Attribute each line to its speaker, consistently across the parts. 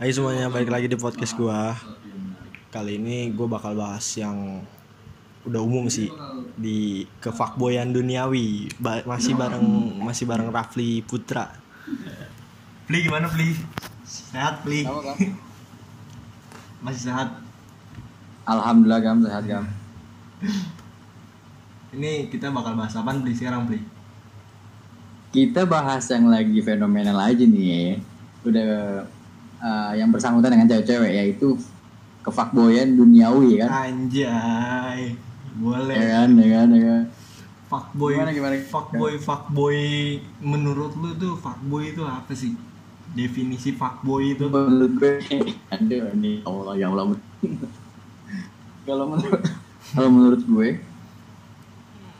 Speaker 1: Hai semuanya, balik lagi di podcast gua. Kali ini gua bakal bahas yang udah umum sih di kefakboyan duniawi. Ba- masih bareng masih bareng Rafli Putra.
Speaker 2: Pli gimana Pli?
Speaker 1: Sehat, Pli.
Speaker 2: Masih sehat.
Speaker 3: Alhamdulillah gam sehat gam.
Speaker 2: Ini kita bakal bahas apa Pli sekarang Pli?
Speaker 3: Kita bahas yang lagi fenomenal aja nih. ya. Udah eh, yang bersangkutan dengan cewek-cewek yaitu kefakboyan duniawi kan.
Speaker 2: Anjay.
Speaker 3: Ya
Speaker 2: Boleh.
Speaker 3: kan, ya kan, ya kan.
Speaker 2: Fuckboy.
Speaker 3: Gimana, gimana? Ya.
Speaker 2: Fuckboy, fuckboy. Menurut lu tuh fuckboy itu apa sih? Definisi fuckboy itu.
Speaker 3: Menurut gue, aduh ini ya Allah ya Allah. kalau menurut kalau menurut gue,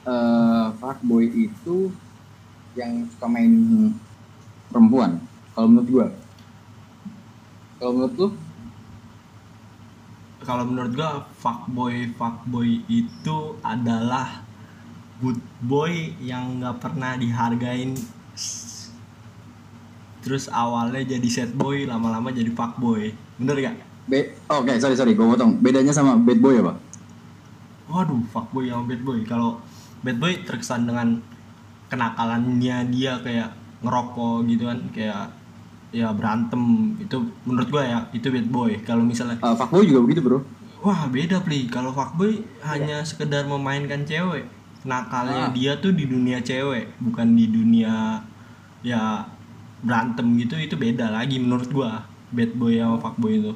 Speaker 3: eh fuckboy itu yang suka main perempuan. Kalau menurut gue, kalau menurut lu
Speaker 2: Kalau menurut gua fuckboy, fuckboy itu adalah good boy yang nggak pernah dihargain terus awalnya jadi sad boy lama-lama jadi fuckboy bener gak?
Speaker 3: Be oh, oke, sorry sorry, gue potong. Bedanya sama bad boy apa?
Speaker 2: waduh fuckboy sama bad boy kalau bad boy terkesan dengan kenakalannya dia kayak ngerokok gitu kan kayak ya berantem itu menurut gua ya itu bad boy kalau misalnya
Speaker 3: Eh fuckboy juga begitu bro.
Speaker 2: wah beda pli kalau
Speaker 3: Iya.
Speaker 2: fuckboy hanya sekedar memainkan cewek nakalnya
Speaker 3: Ah.
Speaker 2: dia tuh di dunia cewek bukan di dunia ya berantem gitu itu beda lagi menurut gua bad boy sama fuckboy itu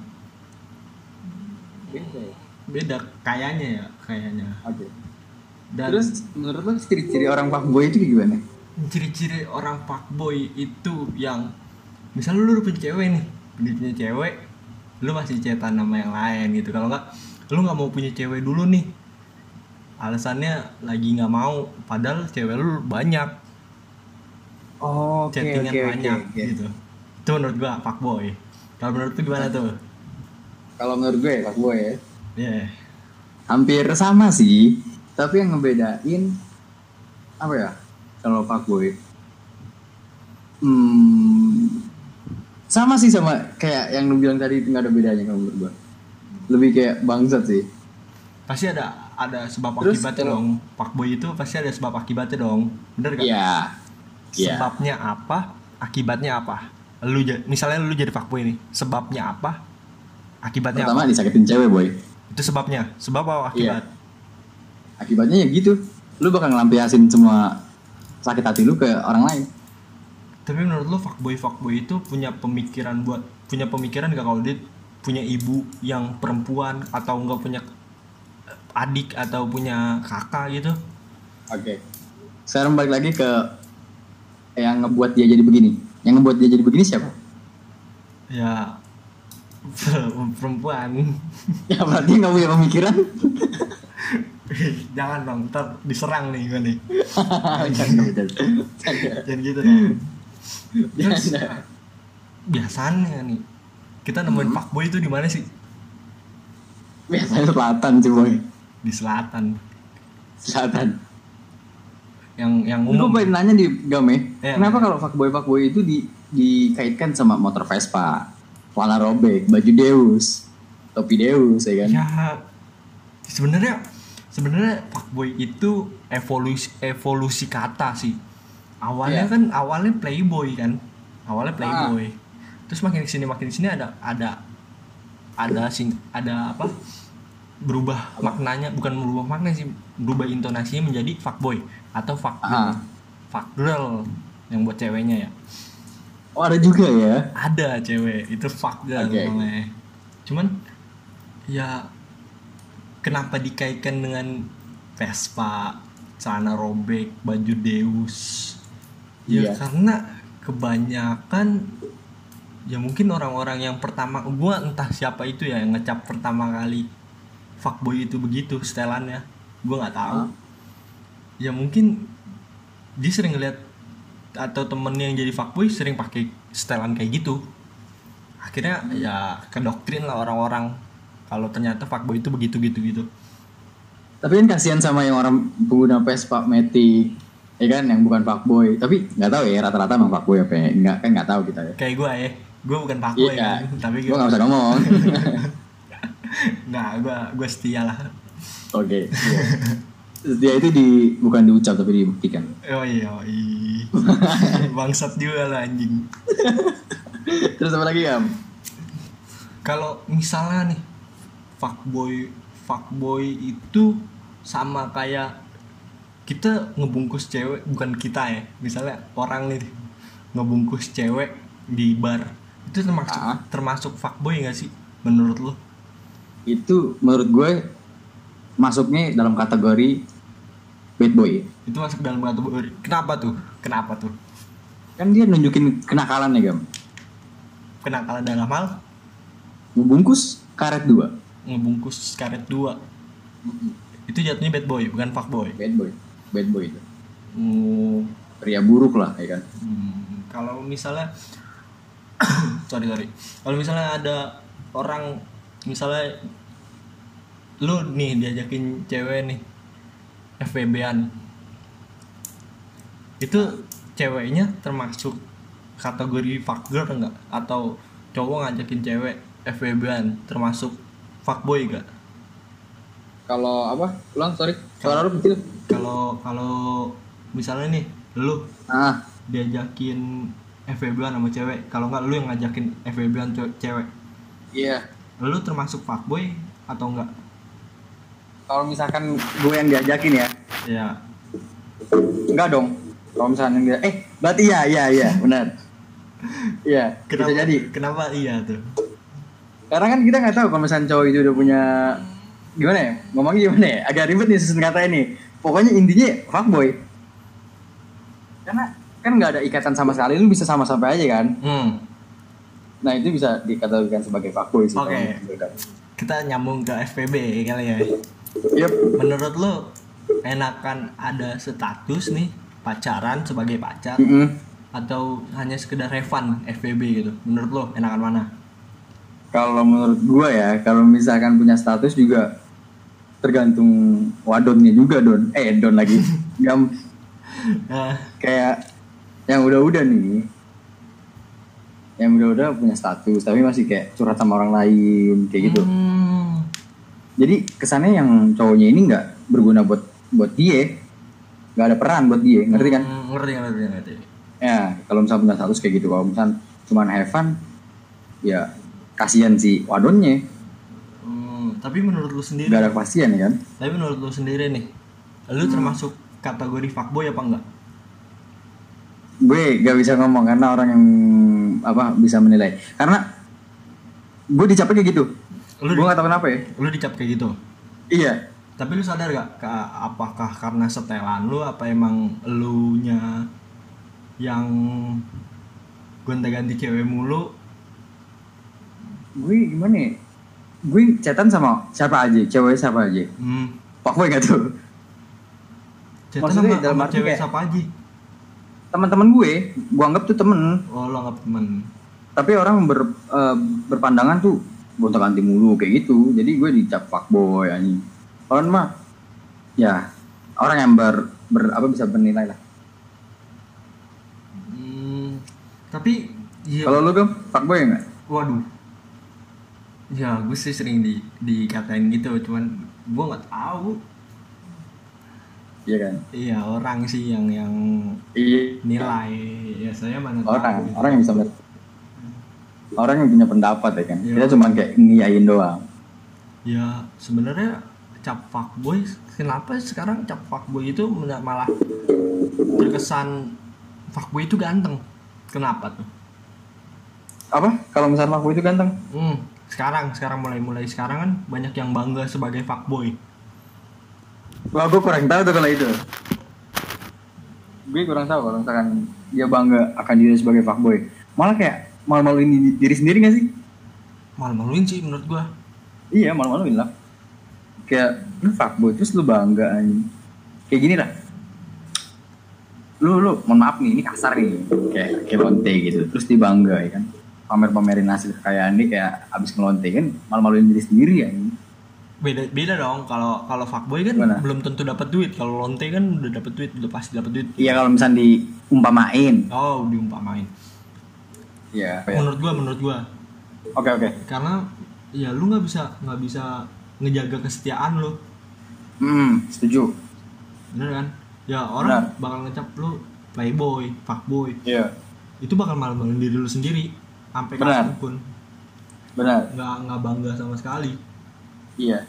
Speaker 2: beda kayaknya ya kayaknya
Speaker 3: Oke.
Speaker 2: dan
Speaker 3: Terus menurut lo ciri-ciri orang fuckboy itu kayak gimana?
Speaker 2: ciri-ciri orang fuckboy itu yang misalnya lu udah punya cewek nih udah punya cewek lu masih cetan sama yang lain gitu kalau nggak lu nggak mau punya cewek dulu nih alasannya lagi nggak mau padahal cewek lu banyak
Speaker 3: Oh,
Speaker 2: chattingan banyak gitu itu menurut gua fuckboy kalau menurut lu gimana tuh
Speaker 3: Kalau menurut gue fuckboy ya,
Speaker 2: ya
Speaker 3: hampir sama sih. Tapi yang ngebedain apa ya? Kalau fuckboy, hmm, sama sih sama kayak yang lu bilang tadi nggak ada bedanya kalau menurut gue. Lebih kayak bangsat sih.
Speaker 2: pasti ada ada sebab
Speaker 3: Terus
Speaker 2: akibatnya
Speaker 3: kalau-
Speaker 2: dong fuckboy itu pasti ada sebab akibatnya dong bener gak?
Speaker 3: Iya. Iya.
Speaker 2: sebabnya apa akibatnya apa lu ja- misalnya lu jadi fuckboy nih sebabnya apa akibatnya
Speaker 3: Pertama
Speaker 2: apa
Speaker 3: disakitin cewek boy.
Speaker 2: itu sebabnya sebab apa
Speaker 3: Iya.
Speaker 2: akibat
Speaker 3: Akibatnya ya gitu. Lu bakal ngelampiasin semua sakit hati lu ke orang lain.
Speaker 2: tapi menurut lu fuckboy fuckboy itu punya pemikiran buat punya pemikiran gak kalau dia punya ibu yang perempuan atau nggak punya adik atau punya kakak gitu
Speaker 3: Oke. Sekarang balik lagi ke yang ngebuat dia jadi begini. Yang ngebuat dia jadi begini siapa?
Speaker 2: ya perempuan
Speaker 3: Ya berarti nggak punya pemikiran.
Speaker 2: jangan dong ntar diserang nih gue nih
Speaker 3: Bercanda, bercanda.
Speaker 2: jangan gitu dong Terus,
Speaker 3: Bercanda.
Speaker 2: biasanya nih kita nemuin
Speaker 3: Hmm.
Speaker 2: fuckboy itu di mana sih
Speaker 3: Biasanya selatan sih boy.
Speaker 2: di selatan
Speaker 3: Selatan.
Speaker 2: yang yang
Speaker 3: Gue
Speaker 2: umum
Speaker 3: pengen nanya di Game,
Speaker 2: Iya,
Speaker 3: kenapa
Speaker 2: iya.
Speaker 3: kalau fuckboy fuckboy itu di, dikaitkan sama motor Vespa, warna robek, baju Deus, topi Deus ya kan?
Speaker 2: ya sebenarnya sebenarnya fuckboy itu evolusi evolusi kata sih awalnya
Speaker 3: Iya. Ah.
Speaker 2: kan awalnya playboy kan awalnya playboy terus makin kesini makin kesini ada ada ada sing ada apa berubah maknanya bukan berubah makna sih berubah intonasinya menjadi fuckboy atau fuck
Speaker 3: Ah.
Speaker 2: girl. fuck girl yang buat ceweknya ya
Speaker 3: Oh ada juga ya.
Speaker 2: ada cewek itu fuck girl
Speaker 3: Oke.
Speaker 2: namanya. cuman ya kenapa dikaitkan dengan Vespa celana robek baju Deus ya
Speaker 3: Iya.
Speaker 2: karena kebanyakan ya mungkin orang-orang yang pertama gua entah siapa itu ya yang ngecap pertama kali fuckboy itu begitu setelannya gua nggak tahu
Speaker 3: Hah?
Speaker 2: ya mungkin dia sering ngeliat atau temennya yang jadi fuckboy sering pakai setelan kayak gitu akhirnya ya kedoktrin lah orang-orang kalau ternyata fuckboy itu begitu gitu gitu
Speaker 3: Tapi kan kasihan sama yang orang pengguna Vespa Matic, ya kan yang bukan fuckboy. Tapi nggak tahu ya rata-rata emang fuckboy apa ya? Nggak kan nggak tahu kita ya.
Speaker 2: kayak gue ya gue bukan fuckboy
Speaker 3: Iya.
Speaker 2: tapi gitu.
Speaker 3: Gue
Speaker 2: gue
Speaker 3: nggak usah ngomong.
Speaker 2: nggak gue gue setia lah
Speaker 3: Oke. iya. Setia itu di bukan diucap tapi dibuktikan.
Speaker 2: oh iya oh, iya. bangsat juga lah anjing
Speaker 3: Terus apa lagi ya?
Speaker 2: kalau misalnya nih fuckboy fuckboy itu sama kayak kita ngebungkus cewek bukan kita ya misalnya orang nih ngebungkus cewek di bar itu termasuk
Speaker 3: Ah.
Speaker 2: termasuk fuckboy gak sih menurut lo
Speaker 3: Itu menurut gue masuknya dalam kategori bad boy.
Speaker 2: itu masuk dalam kategori kenapa tuh kenapa tuh
Speaker 3: Kan dia nunjukin kenakalan ya, Gam.
Speaker 2: kenakalan dalam hal
Speaker 3: Bungkus karet dua.
Speaker 2: ngebungkus karet dua itu jatuhnya bad boy bukan fuckboy
Speaker 3: Bad boy. Bad boy itu.
Speaker 2: Hmm,
Speaker 3: Pria buruk lah, ya kan.
Speaker 2: Hmm, kalau misalnya sorry sorry kalau misalnya ada orang misalnya lu nih diajakin cewek nih FBB-an itu ceweknya termasuk kategori fuckgirl enggak atau cowok ngajakin cewek FBB-an termasuk fuckboy enggak
Speaker 3: Kalau apa? Ulang, sorry. Suara lu kecil.
Speaker 2: kalau kalau misalnya nih lu
Speaker 3: Ah,
Speaker 2: diajakin FWB-an sama cewek kalau nggak lu yang ngajakin FWB-an ce- cewek
Speaker 3: iya.
Speaker 2: lu termasuk fuckboy atau enggak
Speaker 3: Kalau misalkan gue yang diajakin ya,
Speaker 2: ya
Speaker 3: Enggak dong. Kalau misalnya dia, eh berarti ya, ya, ya, benar. Iya, bisa jadi.
Speaker 2: kenapa iya tuh
Speaker 3: Karena kan kita nggak tahu kalau misalnya cowok itu udah punya gimana ya? Ngomongnya gimana ya? Agak ribet nih susun kata ini. Pokoknya intinya fuckboy. Karena kan nggak ada ikatan sama sekali, lu bisa sama-sama aja kan?
Speaker 2: hmm
Speaker 3: Nah itu bisa dikategorikan sebagai fuckboy sih.
Speaker 2: Oke.
Speaker 3: kalau
Speaker 2: kita nyambung ke FPB kali ya
Speaker 3: menurut- Yep.
Speaker 2: menurut lu enakan ada status nih pacaran sebagai pacar
Speaker 3: Mm-mm.
Speaker 2: atau hanya sekedar have fun FPB gitu menurut lo enakan mana
Speaker 3: Kalau menurut gua ya, kalau misalkan punya status juga tergantung wadonnya juga don. Eh don lagi. Gam
Speaker 2: Eh,
Speaker 3: kayak yang udah-udah nih yang udah-udah punya status tapi masih kayak curhat sama orang lain kayak gitu
Speaker 2: hmm,
Speaker 3: jadi kesannya yang cowoknya ini nggak berguna buat buat dia nggak ada peran buat dia ngerti kan
Speaker 2: hmm, ngerti ngerti ngerti
Speaker 3: ya kalau misalnya punya status kayak gitu kalau misalnya cuman have fun ya kasihan si wadonnya
Speaker 2: Hmm, tapi menurut lu sendiri
Speaker 3: nggak ada kepastian ya kan
Speaker 2: Tapi menurut lu sendiri nih, lu termasuk kategori fuckboy apa enggak?
Speaker 3: gue gak bisa ngomong karena orang yang apa bisa menilai karena gue dicapnya kayak gitu
Speaker 2: Lu
Speaker 3: gue gak tahu kenapa ya
Speaker 2: Lu dicap kayak gitu.
Speaker 3: iya
Speaker 2: Tapi lu sadar gak ka- apakah karena setelan lu apa emang lu nya yang gonta-ganti cewek mulu?
Speaker 3: gue gimana ya gue chatan sama siapa aja cewek siapa aja
Speaker 2: Hmm.
Speaker 3: fuckboy gak tuh
Speaker 2: Cetan
Speaker 3: Maksudnya
Speaker 2: sama,
Speaker 3: dalam
Speaker 2: sama
Speaker 3: arti
Speaker 2: cewek
Speaker 3: kayak-
Speaker 2: siapa aja?
Speaker 3: teman-teman gue gue anggap tuh temen
Speaker 2: Oh, lu anggap temen.
Speaker 3: tapi orang ber, eh, berpandangan tuh gonta ganti mulu kayak gitu jadi gue dicap fuckboy anjing orang mah ya orang yang ber, ber- apa bisa bernilai lah
Speaker 2: Hmm. Tapi iya
Speaker 3: kalau lu tuh fuckboy nggak
Speaker 2: Waduh. Ya, gue sih sering di dikatain gitu, cuman gue nggak tahu.
Speaker 3: iya kan
Speaker 2: Iya, orang sih yang yang
Speaker 3: iya
Speaker 2: nilai ya saya mana tahu
Speaker 3: orang
Speaker 2: gitu.
Speaker 3: orang yang bisa ber- orang yang punya pendapat ya kan
Speaker 2: Iya.
Speaker 3: kita cuman kayak ngiyain doang
Speaker 2: ya sebenarnya cap fuckboy kenapa sekarang cap fuckboy itu men- malah terkesan fuckboy itu ganteng kenapa tuh
Speaker 3: apa kalau misalnya fuckboy itu ganteng
Speaker 2: hmm, sekarang sekarang mulai mulai sekarang kan banyak yang bangga sebagai fuckboy
Speaker 3: Wah, gue kurang tahu tuh kalau itu. Gue kurang tahu kalau misalkan dia bangga akan diri sebagai fuckboy. Malah kayak malu-maluin di- diri sendiri gak sih?
Speaker 2: malu-maluin sih menurut gua
Speaker 3: Iya, malu-maluin lah. Kayak lu fuckboy terus lu bangga anjing. Kayak gini lah. Lu lu mohon maaf nih, ini kasar nih. Kayak kayak lonte gitu. Terus dia bangga ya kan. Pamer-pamerin hasil kekayaan dia kayak abis ngelonte kan malu-maluin diri sendiri ya.
Speaker 2: beda beda dong kalau kalau fuckboy kan
Speaker 3: Gimana?
Speaker 2: belum tentu dapat duit kalau lonte kan udah dapat duit udah pasti dapat duit
Speaker 3: Iya kalau misalnya diumpamain.
Speaker 2: oh diumpamain
Speaker 3: Iya.
Speaker 2: menurut gua menurut gua
Speaker 3: Oke oke.
Speaker 2: karena ya lu nggak bisa nggak bisa ngejaga kesetiaan lu
Speaker 3: Hmm setuju.
Speaker 2: bener kan ya orang
Speaker 3: Benar.
Speaker 2: bakal ngecap lu playboy fuckboy
Speaker 3: Iya.
Speaker 2: itu bakal malah maluin diri lu sendiri sampai
Speaker 3: Benar.
Speaker 2: kapan pun
Speaker 3: Benar.
Speaker 2: nggak nggak bangga sama sekali
Speaker 3: Iya.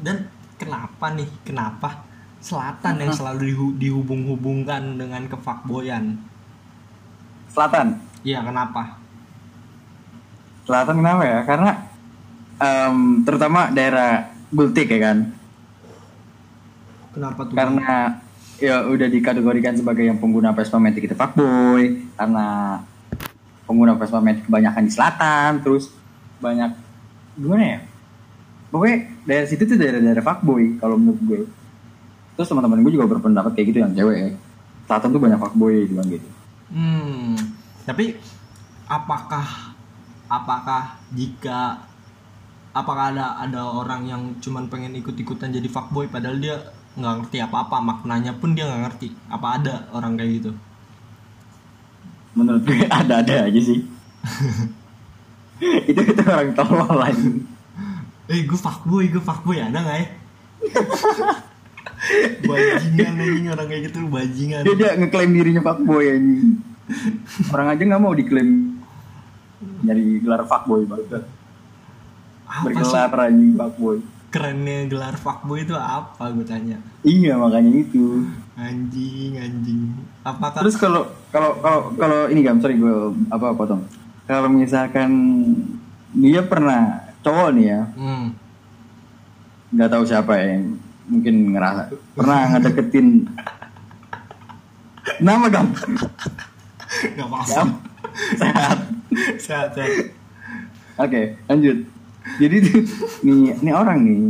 Speaker 2: dan kenapa nih kenapa selatan yang selalu dihu- dihubung-hubungkan dengan kefakboyan
Speaker 3: Selatan.
Speaker 2: ya kenapa
Speaker 3: Selatan kenapa ya? Karena em, terutama daerah Gultik ya kan.
Speaker 2: kenapa tuh
Speaker 3: Hmm. Karena ya udah dikategorikan sebagai yang pengguna Vespa Matic itu fuckboy karena pengguna Vespa Matic kebanyakan di selatan terus banyak gimana ya pokoknya daerah situ tuh daerah-daerah fuckboy kalau menurut gue terus teman-teman gue juga berpendapat kayak gitu yang cewek ya. selatan tuh banyak fuckboy bilang gitu
Speaker 2: Hmm, tapi apakah apakah jika apakah ada ada orang yang cuman pengen ikut-ikutan jadi fuckboy padahal dia nggak ngerti apa-apa maknanya pun dia nggak ngerti apa ada orang kayak gitu
Speaker 3: menurut gue ada-ada aja sih itu itu orang tolol lain
Speaker 2: eh gue fuckboy gue fuckboy ada nggak ya bajingan anjing orang kayak gitu bajingan
Speaker 3: dia dia ngeklaim dirinya fuckboy ini orang aja nggak mau diklaim nyari gelar fuckboy banget
Speaker 2: apa sih
Speaker 3: bergelar anjing fuckboy
Speaker 2: kerennya gelar fuckboy itu apa gue tanya
Speaker 3: iya makanya itu
Speaker 2: anjing anjing apakah
Speaker 3: terus kalau kalau kalau kalau ini gam sorry gue apa potong kalau misalkan dia pernah cowok nih ya
Speaker 2: hmm.
Speaker 3: nggak tahu siapa ya mungkin ngerasa pernah ngedeketin nama gam
Speaker 2: nggak
Speaker 3: gam
Speaker 2: apa-apa
Speaker 3: sehat
Speaker 2: sehat sehat
Speaker 3: Oke, lanjut. Jadi tuh, nih, nih orang nih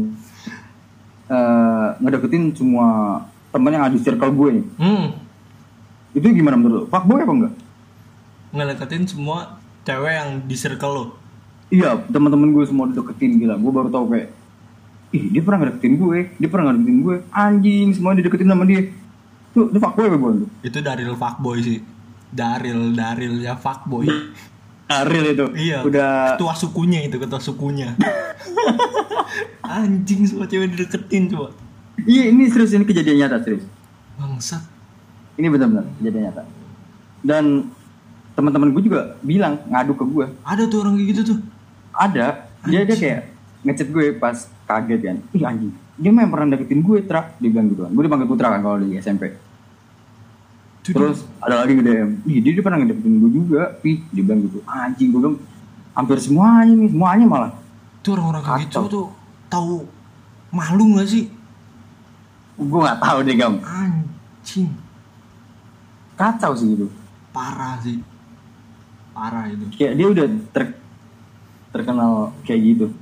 Speaker 3: eh ngedeketin semua temen yang ada di circle gue nih.
Speaker 2: Hmm,
Speaker 3: Itu gimana menurut lo? Fuckboy apa enggak?
Speaker 2: ngedeketin semua cewek yang di circle lo.
Speaker 3: Iya, teman-teman gue semua dideketin gila. Gue baru tahu kayak Ih, dia pernah ngedeketin gue, dia pernah ngedeketin gue. Anjing, semua dideketin sama dia. Tuh, itu fuckboy apa gue tuh?
Speaker 2: Itu Daril fuckboy sih. Daril, Daril ya fuckboy.
Speaker 3: Eh. Aril itu.
Speaker 2: iya.
Speaker 3: Udah
Speaker 2: Ketua sukunya itu, ketua sukunya. Anjing semua cewek dideketin coba.
Speaker 3: Iya, ini serius ini kejadian nyata serius.
Speaker 2: Bangsat.
Speaker 3: Ini benar-benar kejadian nyata. Dan teman-teman gue juga bilang ngadu ke gue.
Speaker 2: Ada tuh orang kayak gitu tuh.
Speaker 3: ada dia dia kayak ngechat gue pas kaget kan ih anjing dia memang pernah deketin gue trak dia bilang gitu kan gue dipanggil putra kan kalau di SMP
Speaker 2: Tuh,
Speaker 3: terus ada lagi di DM ih dia, dia pernah ngedeketin gue juga ih dia bilang gitu anjing gue bilang hampir semuanya nih semuanya malah
Speaker 2: tuh orang-orang kayak gitu
Speaker 3: Kacau.
Speaker 2: tuh tahu malu gak sih?
Speaker 3: gue nggak tahu deh gam
Speaker 2: Anjing,
Speaker 3: kacau sih gitu
Speaker 2: parah sih. Parah itu.
Speaker 3: kayak dia udah ter- terkenal kayak gitu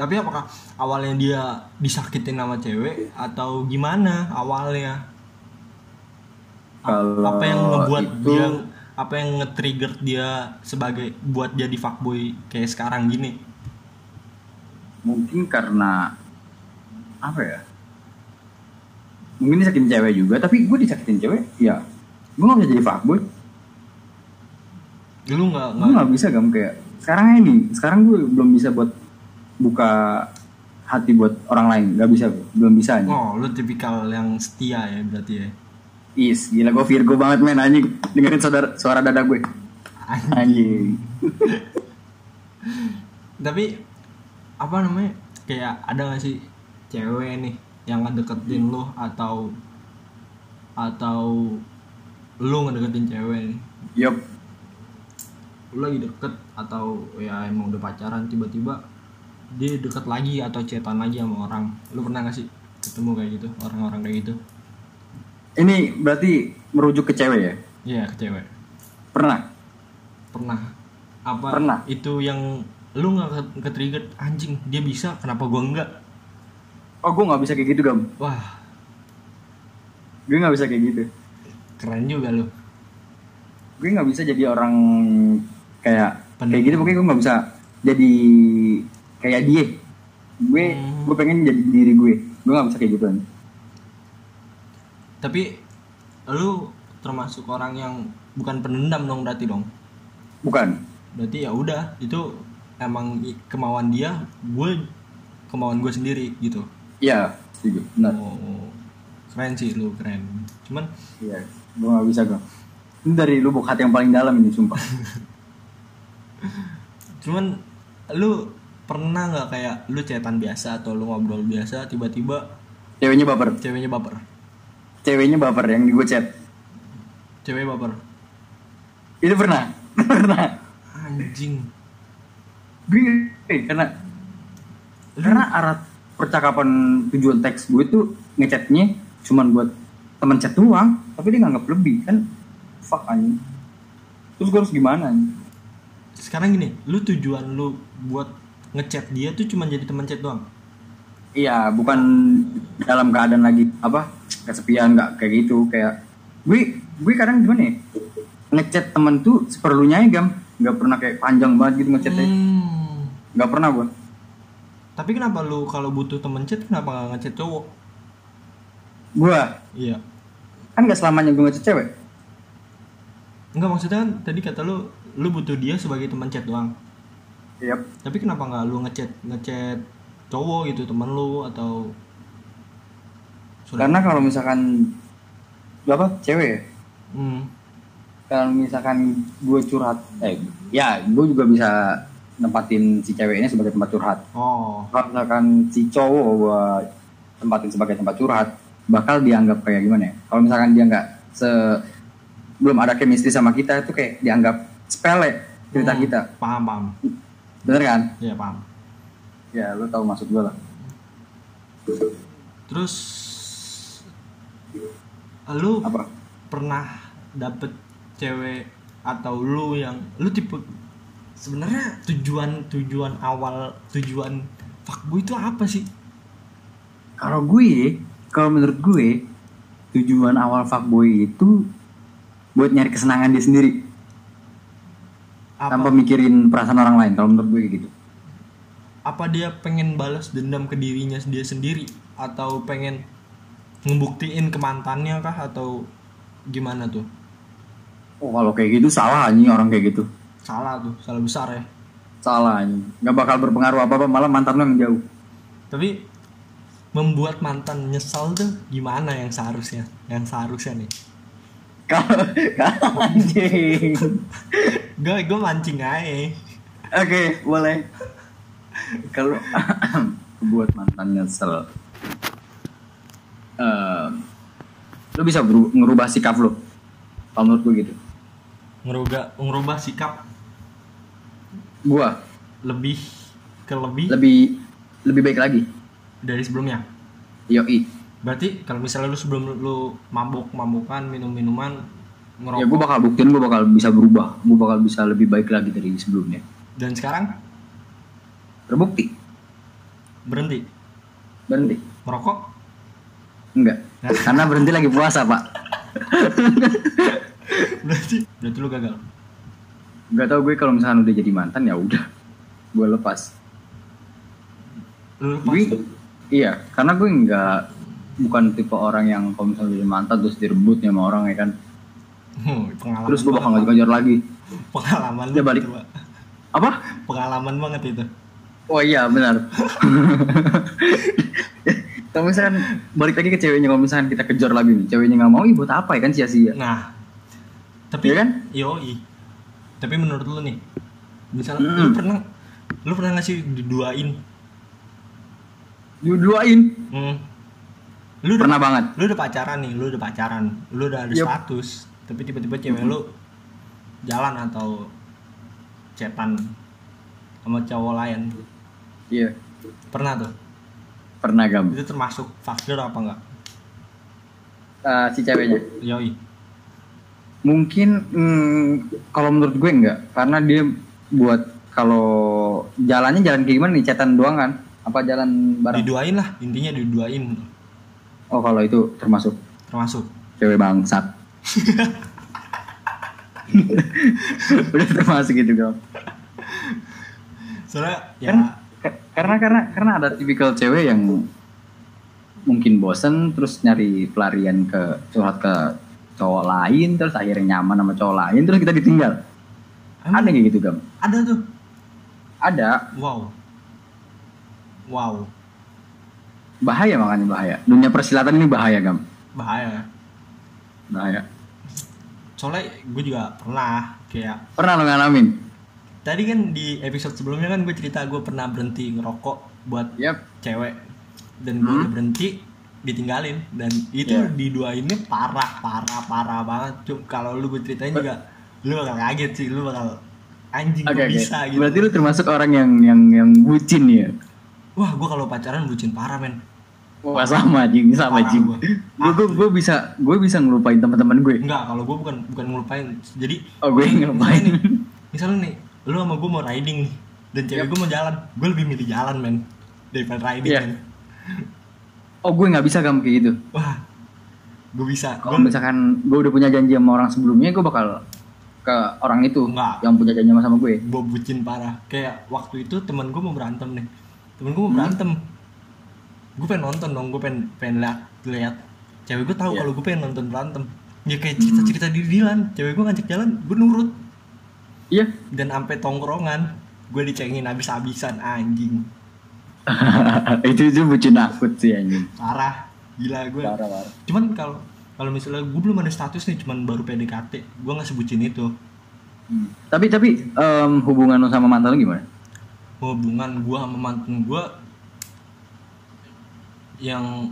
Speaker 2: Tapi apakah awalnya dia disakitin sama cewek atau gimana awalnya? A-
Speaker 3: Kalau
Speaker 2: apa yang membuat
Speaker 3: Oh, itu-
Speaker 2: dia apa yang nge-trigger dia sebagai buat jadi fuckboy kayak sekarang gini?
Speaker 3: mungkin karena apa ya mungkin disakitin cewek juga tapi gue disakitin cewek ya gue gak bisa jadi fuckboy
Speaker 2: Lu nggak
Speaker 3: gue
Speaker 2: nggak
Speaker 3: nggak bisa gam kayak sekarang ini sekarang gue belum bisa buat buka hati buat orang lain nggak bisa gue belum bisa anjing.
Speaker 2: Oh, lu tipikal yang setia ya berarti ya.
Speaker 3: is gila gue Virgo banget men anjing dengerin saudara, suara dada gue
Speaker 2: Anj-
Speaker 3: anjing
Speaker 2: Tapi apa namanya? Kayak ada gak sih cewek nih yang ngedeketin lu atau atau lu ngedeketin cewek nih?
Speaker 3: yop
Speaker 2: lu lagi deket atau ya emang udah pacaran tiba-tiba dia deket lagi atau cetan lagi sama orang lu pernah gak sih ketemu kayak gitu orang-orang kayak gitu
Speaker 3: ini berarti merujuk ke cewek ya
Speaker 2: iya ke cewek
Speaker 3: pernah
Speaker 2: pernah apa
Speaker 3: Pernah.
Speaker 2: itu yang lu nggak ke trigger anjing dia bisa kenapa gua enggak
Speaker 3: oh gue nggak bisa kayak gitu gam
Speaker 2: wah
Speaker 3: gue nggak bisa kayak gitu
Speaker 2: keren juga lu
Speaker 3: gue nggak bisa jadi orang kayak
Speaker 2: Pendek.
Speaker 3: kayak gitu pokoknya gue nggak bisa jadi kayak dia gue
Speaker 2: Hmm.
Speaker 3: gue pengen jadi diri gue gue nggak bisa kayak gitu anjing.
Speaker 2: tapi lu termasuk orang yang bukan penendam dong berarti dong
Speaker 3: bukan
Speaker 2: berarti ya udah itu emang i- kemauan dia gue kemauan gue sendiri gitu
Speaker 3: iya setuju benar
Speaker 2: Oh, keren sih lu keren cuman
Speaker 3: iya gue gak bisa gue ini dari lubuk hati yang paling dalam ini sumpah
Speaker 2: cuman lu pernah nggak kayak lu cetan biasa atau lu ngobrol biasa tiba-tiba
Speaker 3: ceweknya baper
Speaker 2: ceweknya baper
Speaker 3: ceweknya baper yang di gue chat
Speaker 2: cewek baper
Speaker 3: itu pernah pernah
Speaker 2: anjing
Speaker 3: gue eh, karena karena arah percakapan tujuan teks gue itu ngechatnya cuman buat temen chat doang tapi dia nganggap lebih kan fuck anjing terus gue harus gimana anjing?
Speaker 2: sekarang gini lu tujuan lu buat ngechat dia tuh cuman jadi teman chat doang
Speaker 3: iya bukan dalam keadaan lagi apa kesepian nggak kayak gitu kayak gue gue kadang gimana ya ngechat temen tuh seperlunya ya gam nggak pernah kayak panjang banget gitu ngechatnya
Speaker 2: Hmm.
Speaker 3: nggak pernah gue
Speaker 2: tapi kenapa lu kalau butuh temen chat kenapa nggak ngechat cowok
Speaker 3: gue
Speaker 2: iya
Speaker 3: kan nggak selamanya gue ngechat cewek
Speaker 2: Enggak maksudnya kan tadi kata lu lu butuh dia sebagai teman chat doang.
Speaker 3: Yap.
Speaker 2: Tapi kenapa nggak lu ngechat ngechat cowok gitu teman lu atau Sudah.
Speaker 3: karena kalau misalkan apa cewek ya?
Speaker 2: Hmm.
Speaker 3: kalau misalkan gue curhat eh ya gue juga bisa nempatin si cewek ini sebagai tempat curhat
Speaker 2: Oh,
Speaker 3: kalau misalkan si cowok gue tempatin sebagai tempat curhat bakal dianggap kayak gimana ya kalau misalkan dia nggak se belum ada chemistry sama kita itu kayak dianggap sepele cerita
Speaker 2: Hmm.
Speaker 3: kita
Speaker 2: paham paham.
Speaker 3: bener kan
Speaker 2: Iya, paham.
Speaker 3: ya lu tahu maksud gue lah
Speaker 2: Terus lu
Speaker 3: apa
Speaker 2: pernah dapet cewek atau lu yang lu tipe sebenarnya tujuan tujuan awal tujuan fuckboy itu apa sih?
Speaker 3: kalau gue kalau menurut gue tujuan awal fuckboy itu buat nyari kesenangan dia sendiri
Speaker 2: Apa
Speaker 3: tanpa mikirin perasaan orang lain kalau menurut gue kayak gitu
Speaker 2: apa dia pengen balas dendam ke dirinya dia sendiri atau pengen ngebuktiin ke mantannya kah atau gimana tuh
Speaker 3: oh kalau kayak gitu salah anjing orang kayak gitu
Speaker 2: salah tuh salah besar ya
Speaker 3: salah anjing nggak bakal berpengaruh apa apa malah mantan lo yang jauh
Speaker 2: tapi membuat mantan nyesal tuh gimana yang seharusnya yang seharusnya nih
Speaker 3: kalau kalau anjing
Speaker 2: gue gue mancing aja
Speaker 3: oke boleh kalau buat mantan nyesel Eh, lo bisa beru- ngerubah sikap lo kalau menurut gue gitu
Speaker 2: ngerubah ngerubah sikap
Speaker 3: gue
Speaker 2: lebih ke lebih
Speaker 3: lebih lebih baik lagi
Speaker 2: dari sebelumnya
Speaker 3: yoi
Speaker 2: berarti kalau misalnya lu sebelum lu mabuk mabukan minum minuman
Speaker 3: ya
Speaker 2: ngerokok
Speaker 3: gue bakal buktiin gue bakal bisa berubah gue bakal bisa lebih baik lagi dari sebelumnya
Speaker 2: dan sekarang
Speaker 3: terbukti
Speaker 2: berhenti
Speaker 3: berhenti
Speaker 2: merokok
Speaker 3: Enggak. Karena berhenti lagi puasa, Pak.
Speaker 2: berarti berarti lu gagal
Speaker 3: Enggak tahu gue kalau misalkan udah jadi mantan ya udah. Gue lepas.
Speaker 2: lu lepas
Speaker 3: Gue iya, karena gue enggak bukan tipe orang yang kalau misalnya jadi mantan terus direbut sama orang ya kan.
Speaker 2: Hmm, pengalaman
Speaker 3: Terus gue bakal
Speaker 2: banget.
Speaker 3: ngejar lagi.
Speaker 2: pengalaman lu
Speaker 3: Ya, balik.
Speaker 2: gitu, Pak.
Speaker 3: Apa?
Speaker 2: pengalaman banget itu
Speaker 3: Oh iya, benar. kalau misalkan balik lagi ke ceweknya kalau misalkan kita kejar lagi nih, ceweknya nggak mau, ih buat apa ya kan sia-sia.
Speaker 2: nah tapi
Speaker 3: Iya kan?
Speaker 2: yoi tapi menurut lu nih misalnya
Speaker 3: Hmm.
Speaker 2: lu pernah lu pernah ngasih diduain
Speaker 3: Duduain.
Speaker 2: hmm. lu udah
Speaker 3: Pernah banget.
Speaker 2: lu udah pacaran nih lu udah pacaran lu udah ada
Speaker 3: Yep.
Speaker 2: status tapi tiba-tiba cewek lu jalan atau cetan sama cowok lain
Speaker 3: Iya,
Speaker 2: pernah tuh
Speaker 3: pernah gam.
Speaker 2: itu termasuk faktor apa enggak
Speaker 3: Eh, si ceweknya.
Speaker 2: yoi
Speaker 3: mungkin mm, kalau menurut gue enggak karena dia buat kalau jalannya jalan kayak gimana nih cetan doang kan apa jalan bareng
Speaker 2: diduain lah intinya diduain
Speaker 3: oh kalau itu termasuk
Speaker 2: termasuk
Speaker 3: cewek bangsat udah termasuk gitu gal
Speaker 2: soalnya ya
Speaker 3: Karena- Ka- karena karena karena ada tipikal cewek yang mungkin bosen terus nyari pelarian ke curhat ke cowok lain terus akhirnya nyaman sama cowok lain terus kita ditinggal Ada kayak gitu gam?
Speaker 2: Ada tuh.
Speaker 3: Ada.
Speaker 2: Wow. Wow.
Speaker 3: Bahaya makanya bahaya. Dunia persilatan ini bahaya gam.
Speaker 2: Bahaya. ya.
Speaker 3: Bahaya.
Speaker 2: Soalnya gue juga pernah kayak
Speaker 3: Pernah lo ngalamin?
Speaker 2: tadi kan di episode sebelumnya kan gue cerita gue pernah berhenti ngerokok buat
Speaker 3: Yap.
Speaker 2: cewek dan gue udah berhenti ditinggalin dan itu
Speaker 3: Hmm? Iya.
Speaker 2: di dua ini parah parah parah banget cum kalau lu gue ceritain juga lu bakal kaget sih lu bakal anjing kok
Speaker 3: Oke oke.
Speaker 2: bisa gitu
Speaker 3: Berarti lu termasuk orang yang yang yang bucin ya?
Speaker 2: wah gue kalau pacaran bucin parah men
Speaker 3: Wah sama anjing, sama
Speaker 2: Parah
Speaker 3: anjing.
Speaker 2: gua.
Speaker 3: Gue gue gue bisa gue bisa ngelupain teman-teman gue.
Speaker 2: enggak kalau gue bukan bukan ngelupain jadi
Speaker 3: Oh gue
Speaker 2: misalnya
Speaker 3: yang ngelupain.
Speaker 2: nih misalnya nih lu sama gue mau riding nih dan cewek gue mau jalan gue lebih milih jalan men daripada riding
Speaker 3: Iya.
Speaker 2: men.
Speaker 3: Oh gue nggak bisa gam kayak gitu.
Speaker 2: wah gue bisa Gua-
Speaker 3: Kalau misalkan gue udah punya janji sama orang sebelumnya, gue bakal ke orang itu
Speaker 2: Enggak.
Speaker 3: yang punya janji sama sama gue.
Speaker 2: gue bucin parah kayak waktu itu temen gue mau berantem nih temen gue mau
Speaker 3: Hmm?
Speaker 2: berantem gue pengen nonton dong gue pengen pengen lihat lihat cewek gue tahu
Speaker 3: Iya. Hmm.
Speaker 2: kalau gue pengen nonton berantem ya kayak cerita cerita di Dilan cewek gue ngajak jalan gue nurut
Speaker 3: Iya.
Speaker 2: dan ampe tongkrongan gue dicengin habis habisan anjing
Speaker 3: itu itu bucin akut sih anjing.
Speaker 2: parah gila gue
Speaker 3: Parah parah.
Speaker 2: cuman kalau kalau misalnya gue belum ada status nih cuman baru PDKT gue nggak sebutin itu
Speaker 3: Hmm. Tapi tapi em, hubungan lo sama mantan lo gimana?
Speaker 2: hubungan gua sama mantan gua yang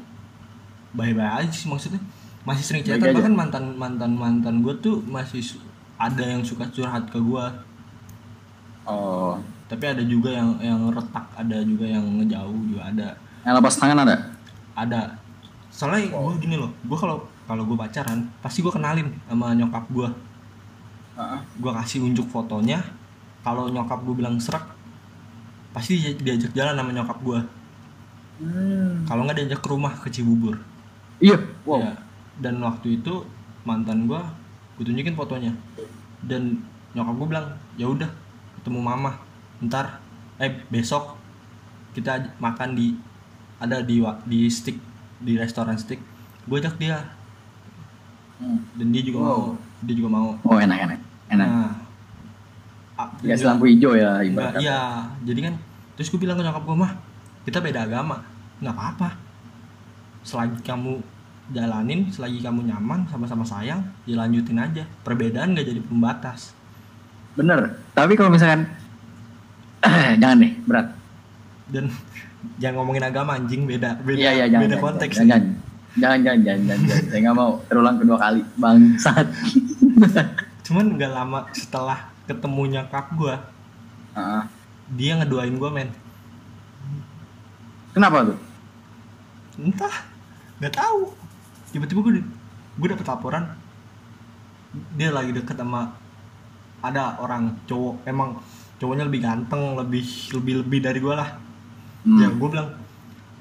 Speaker 2: baik-baik aja sih maksudnya masih sering
Speaker 3: Baik
Speaker 2: chatan
Speaker 3: aja.
Speaker 2: bahkan mantan mantan mantan gua tuh masih su- ada yang suka curhat ke gua
Speaker 3: Oh.
Speaker 2: tapi ada juga yang yang retak ada juga yang ngejauh juga ada
Speaker 3: Yang lepas tangan ada?
Speaker 2: ada soalnya gua gini loh gua kalau kalau gua pacaran pasti gua kenalin sama nyokap gua gua kasih unjuk fotonya kalau nyokap gua bilang serak pasti dia- diajak jalan sama nyokap gua
Speaker 3: Hmm.
Speaker 2: kalau nggak diajak ke rumah ke Cibubur
Speaker 3: Iya. Wow.
Speaker 2: Ya, dan waktu itu mantan gua gue tunjukin fotonya dan nyokap gue bilang ya udah ketemu mama ntar eh besok kita aj- makan di ada di wa- di stick di restoran stick gue ajak dia
Speaker 3: Hmm.
Speaker 2: dan dia juga
Speaker 3: Wow.
Speaker 2: mau dia juga mau
Speaker 3: Oh enak enak enak.
Speaker 2: nah ah, a-
Speaker 3: Dikasih lampu hijau ya
Speaker 2: Enggak,
Speaker 3: ibaratnya.
Speaker 2: iya jadi kan terus gue bilang ke nyokap gue mah kita beda agama nggak apa-apa selagi kamu jalanin selagi kamu nyaman sama-sama sayang ya lanjutin aja perbedaan gak jadi pembatas
Speaker 3: Bener. Tapi kalau misalkan jangan deh berat.
Speaker 2: dan jangan ngomongin agama anjing beda beda
Speaker 3: Iya iya jangan.
Speaker 2: beda
Speaker 3: jangan,
Speaker 2: konteks
Speaker 3: Jangan jangan jangan jangan, jangan, jangan, jangan. Saya nggak mau terulang kedua kali bangsat.
Speaker 2: cuman nggak lama setelah ketemu nyokap gue
Speaker 3: Ah,
Speaker 2: dia ngeduain gue men
Speaker 3: Kenapa tuh?
Speaker 2: entah nggak tahu tiba-tiba gue gue dapet laporan dia lagi deket sama ada orang cowok emang cowoknya lebih ganteng lebih lebih lebih dari gue lah
Speaker 3: Hmm.
Speaker 2: ya gue bilang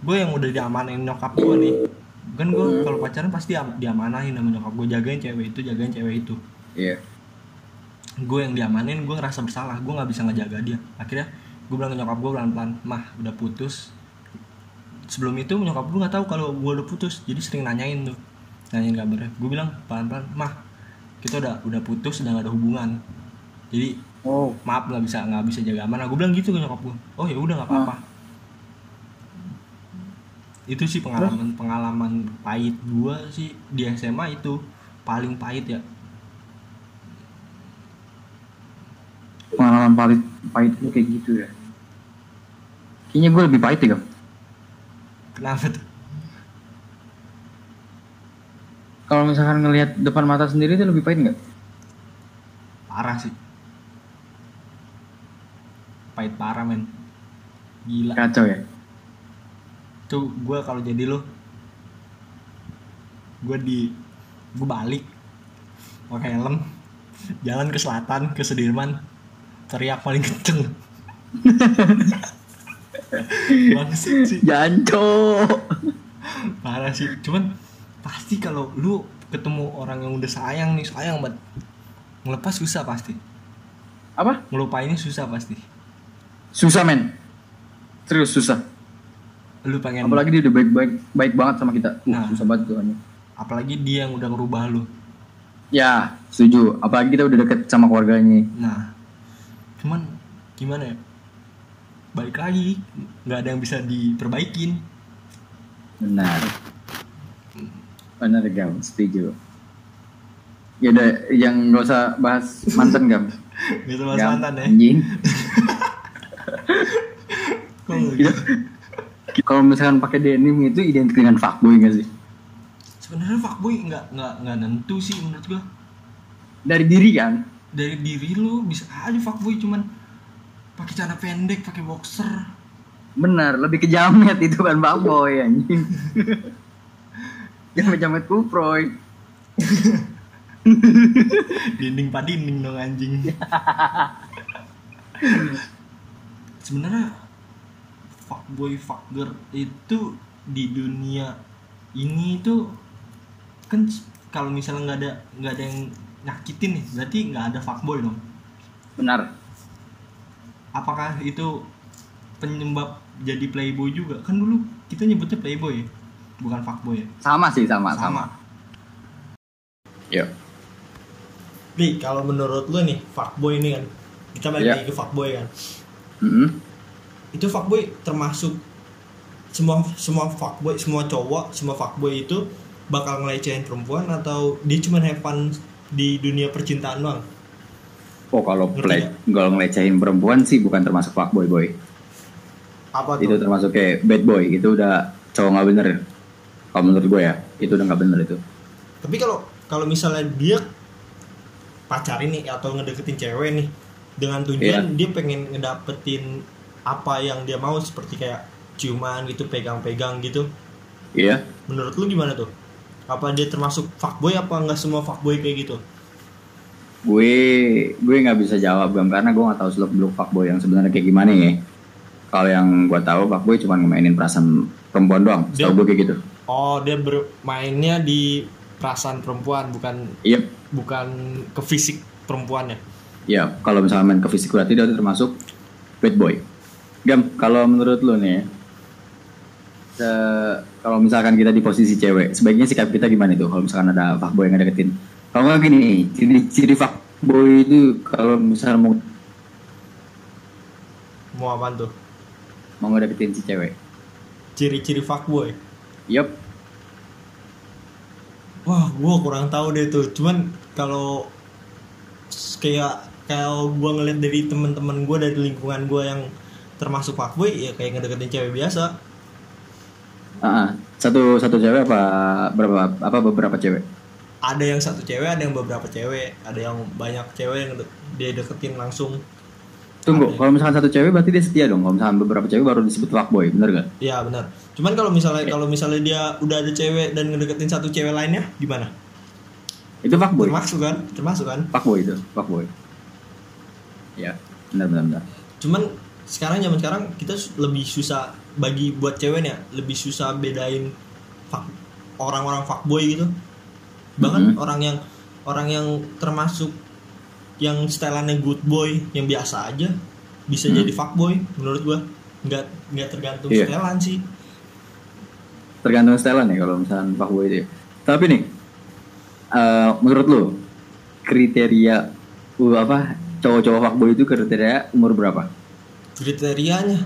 Speaker 2: gue yang udah diamanahin nyokap gue nih kan gue kalau pacaran pasti diam- diamanahin sama nyokap gue jagain cewek itu jagain cewek itu
Speaker 3: Iya.
Speaker 2: gue yang diamanin gue ngerasa bersalah gue nggak bisa ngejaga dia akhirnya gue bilang ke nyokap gue pelan-pelan mah udah putus sebelum itu nyokap gue nggak tahu kalau gue udah putus jadi sering nanyain tuh nanyain kabarnya gue bilang pelan-pelan mah kita udah udah putus udah gak ada hubungan jadi
Speaker 3: Oh.
Speaker 2: maaf nggak bisa nggak bisa jaga amanah gue bilang gitu ke nyokap gue oh ya udah nggak apa-apa itu sih pengalaman pengalaman pahit gue sih di SMA itu paling pahit ya
Speaker 3: Pengalaman pahit pahit lu kayak gitu ya. Kayaknya gue lebih pahit ya, Gam.
Speaker 2: kenapa tuh
Speaker 3: Kalau misalkan ngelihat depan mata sendiri itu lebih pahit nggak?
Speaker 2: parah sih pahit parah men gila
Speaker 3: Kacau ya.
Speaker 2: tuh gue kalau jadi lo gue di gue balik pakai helm jalan ke selatan ke Sudirman teriak paling kenceng Bangsat sih
Speaker 3: Janco.
Speaker 2: parah sih cuman pasti kalau lu ketemu orang yang udah sayang nih sayang banget ngelepas susah pasti
Speaker 3: Apa?
Speaker 2: ngelupainnya susah pasti
Speaker 3: Susah men. Serius susah.
Speaker 2: lu pengen
Speaker 3: Apalagi dia udah baik-baik baik banget sama kita. Uh,
Speaker 2: Nah.
Speaker 3: susah banget tuh anjing.
Speaker 2: apalagi dia yang udah ngerubah lu
Speaker 3: Ya, setuju. Apalagi kita udah deket sama keluarganya.
Speaker 2: nah
Speaker 4: cuman gimana ya balik lagi nggak ada yang bisa diperbaikin
Speaker 3: Benar. Benar Gam, setuju. Ya udah, yang gak usah bahas mantan Gam.
Speaker 4: gitu mas
Speaker 3: Gam,
Speaker 4: mantan ya
Speaker 3: Anjing.
Speaker 4: Kok nggak- gitu?
Speaker 3: Kalau misalkan pakai denim itu identik dengan fuckboy gak sih?
Speaker 4: sebenarnya fuckboy nggak nggak nggak nentu sih menurut gua
Speaker 3: Dari diri kan?
Speaker 4: dari diri lu bisa aja fuckboy cuman pakai celana pendek pakai boxer
Speaker 3: Benar, lebih ke jamet itu kan fuckboy anjing. Jamet-jamet kuproy.
Speaker 4: dinding pak dinding dong anjing sebenarnya fuckboy fuckgirl itu di dunia ini itu kan s- kalau misalnya nggak ada nggak ada yang nyakitin nih berarti nggak ada fuckboy dong
Speaker 3: Benar.
Speaker 4: apakah itu penyebab jadi playboy juga kan dulu kita nyebutnya playboy ya bukan fuckboy ya
Speaker 3: Sama sih, sama, sama.
Speaker 4: sama
Speaker 3: Iya.
Speaker 2: Bi, kalau menurut lu nih, fuckboy ini kan. Kita balik
Speaker 3: Iya.
Speaker 2: lagi ke fuckboy kan.
Speaker 3: Mm-mm.
Speaker 2: Itu fuckboy termasuk semua semua fuckboy, semua cowok, semua fuckboy itu bakal ngelecehin perempuan atau dia cuma have fun di dunia percintaan doang.
Speaker 3: Oh kalau
Speaker 2: Ngerti
Speaker 3: play, kalau ngelecehin perempuan sih bukan termasuk fuckboy boy.
Speaker 2: Apa
Speaker 3: Itu
Speaker 2: tuh?
Speaker 3: termasuk kayak bad boy. Itu udah cowok nggak bener. Kalau menurut gue ya, itu udah nggak bener itu.
Speaker 2: Tapi kalau kalau misalnya dia pacarin nih atau ngedeketin cewek nih dengan tujuan dia pengen ngedapetin apa yang dia mau seperti kayak ciuman gitu, pegang-pegang gitu.
Speaker 3: Iya.
Speaker 2: Menurut lu gimana tuh? Apa dia termasuk fuckboy apa nggak semua fuckboy kayak gitu?
Speaker 3: Gue gue nggak bisa jawab Gam, karena gue nggak tahu seluk beluk fuckboy yang sebenarnya kayak gimana ya. Kalau yang gue tahu fuckboy cuma ngemainin perasaan perempuan doang.
Speaker 2: Dia-
Speaker 3: Setahu gue kayak gitu.
Speaker 2: Oh, dia bermainnya di perasaan perempuan bukan
Speaker 3: Iya.
Speaker 2: bukan ke fisik ya? perempuannya.
Speaker 3: Iya. Kalau misalnya main ke fisik berarti dia termasuk bad boy. Gam, kalau menurut lo nih, ya, se- kalau misalkan kita di posisi cewek, sebaiknya sikap kita gimana itu? Kalau misalkan ada fuckboy yang deketin, kalau nggak gini, ciri-ciri fuckboy itu kalau misalnya mau
Speaker 2: Mau apa tuh?
Speaker 3: mau ngedeketin si cewek,
Speaker 2: Ciri-ciri fuckboy.
Speaker 3: yup,
Speaker 2: Wah, gua kurang tahu deh tuh. Cuman kalau kayak kalau gua ngeliat dari teman-teman gua dari lingkungan gua yang termasuk fuckboy ya kayak ngedeketin cewek biasa.
Speaker 3: Ah, ah. satu satu cewek apa berapa apa beberapa cewek?
Speaker 2: Ada yang satu cewek, ada yang beberapa cewek, ada yang banyak cewek yang de- dia deketin langsung.
Speaker 3: Tunggu,
Speaker 2: Ada.
Speaker 3: kalau misalkan satu cewek berarti dia setia dong. Kalau misalkan beberapa cewek baru disebut fuckboy, bener gak?
Speaker 2: Ya benar. Cuman kalau misalnya kalau misalnya dia udah ada cewek dan ngedeketin satu cewek lainnya gimana?
Speaker 3: Itu fuckboy.
Speaker 2: Termasuk kan? Termasuk kan?
Speaker 3: Fuckboy itu, fuckboy. Ya, benar benar benar.
Speaker 2: Cuman sekarang zaman sekarang kita su- lebih susah bagi buat ceweknya lebih susah bedain fuck- orang-orang fuckboy gitu. Bahkan
Speaker 3: Mhm.
Speaker 2: orang yang orang yang termasuk yang setelannya good boy yang biasa aja bisa
Speaker 3: Mhm.
Speaker 2: jadi fuckboy menurut gua nggak nggak tergantung
Speaker 3: Iya.
Speaker 2: setelan sih
Speaker 3: Tergantung setelan ya kalau misalkan fuckboy itu. ya. Tapi nih, eh, menurut lo kriteria uh, apa cowok-cowok fuckboy itu kriteria umur berapa?
Speaker 2: kriterianya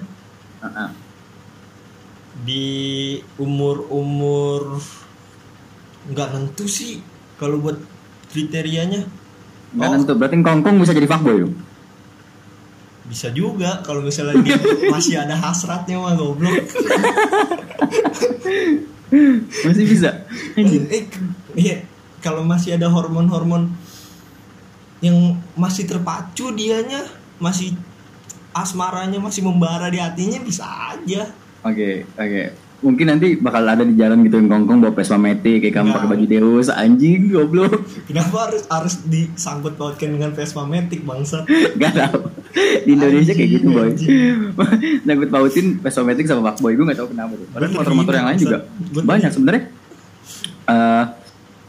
Speaker 3: Ah, ah.
Speaker 2: di umur-umur nggak nentu sih kalau buat kriterianya
Speaker 3: Nggak
Speaker 2: Oh.
Speaker 3: nentu. Berarti kongkong bisa jadi fuckboy dong.
Speaker 2: bisa juga kalau misalnya dia masih ada hasratnya mah goblok
Speaker 3: Masih bisa.
Speaker 2: Eh, iya kalau masih ada hormon-hormon yang masih terpacu dianya masih asmaranya masih membara di hatinya bisa aja
Speaker 3: Oke, oke. Mungkin nanti bakal ada di jalan gitu yang kongkong bawa Vespa Matic kayak kamu
Speaker 2: Enggak.
Speaker 3: pakai baju Deus, anjing goblok.
Speaker 2: kenapa harus harus disangkut pautkan dengan Vespa Matic bangsa
Speaker 3: Gak tau. Di Indonesia kayak gitu, boy. Nah,
Speaker 2: Anjing,
Speaker 3: Nyangkut pautin Vespa Matic sama Fuckboy gue gak tau kenapa tuh. Padahal
Speaker 2: Bener
Speaker 3: motor-motor
Speaker 2: gitu,
Speaker 3: yang lain
Speaker 2: Bang
Speaker 3: juga
Speaker 2: Sat. Bener. iya.
Speaker 3: banyak sebenarnya. Eh,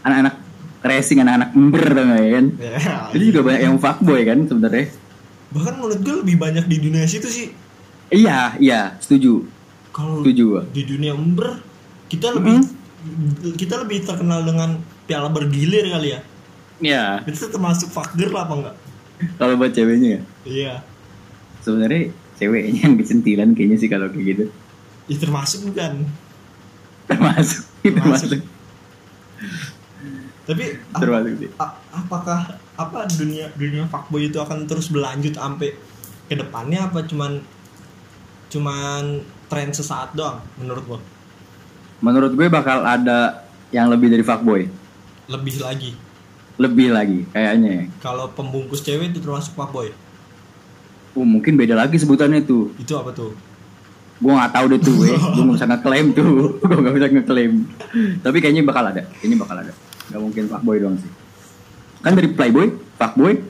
Speaker 3: anak-anak racing, anak-anak ember tau nggak ya kan.
Speaker 2: Ya,
Speaker 3: Itu juga banyak yang fuckboy kan sebenarnya.
Speaker 2: bahkan menurut gue lebih banyak di dunia situ sih
Speaker 3: Iya, iya, setuju.
Speaker 2: kalau
Speaker 3: Setuju gue.
Speaker 2: di dunia ember kita lebih kita lebih terkenal dengan piala bergilir kali ya
Speaker 3: Iya,
Speaker 2: itu termasuk fakir lah apa enggak
Speaker 3: kalau buat ceweknya ya.
Speaker 2: iya
Speaker 3: sebenarnya ceweknya yang kecentilan kayaknya sih kalau kayak gitu
Speaker 2: Ya termasuk bukan.
Speaker 3: termasuk
Speaker 2: Termasuk.
Speaker 3: termasuk
Speaker 2: Tapi ap-
Speaker 3: termasuk sih
Speaker 2: a- apakah apa dunia dunia fuckboy itu akan terus berlanjut sampai ke depannya apa cuman cuman tren sesaat doang menurut lo?
Speaker 3: menurut gue bakal ada yang lebih dari fuckboy
Speaker 2: Lebih lagi
Speaker 3: lebih lagi kayaknya
Speaker 2: kalau pembungkus cewek itu termasuk fuckboy.
Speaker 3: uh mungkin beda lagi sebutannya tuh
Speaker 2: Itu apa tuh?
Speaker 3: gue nggak tahu deh tuh gue gue nggak bisa ngeklaim tuh gue nggak bisa ngeklaim tapi kayaknya bakal ada kayaknya bakal ada nggak mungkin fuckboy doang sih kan dari playboy fuckboy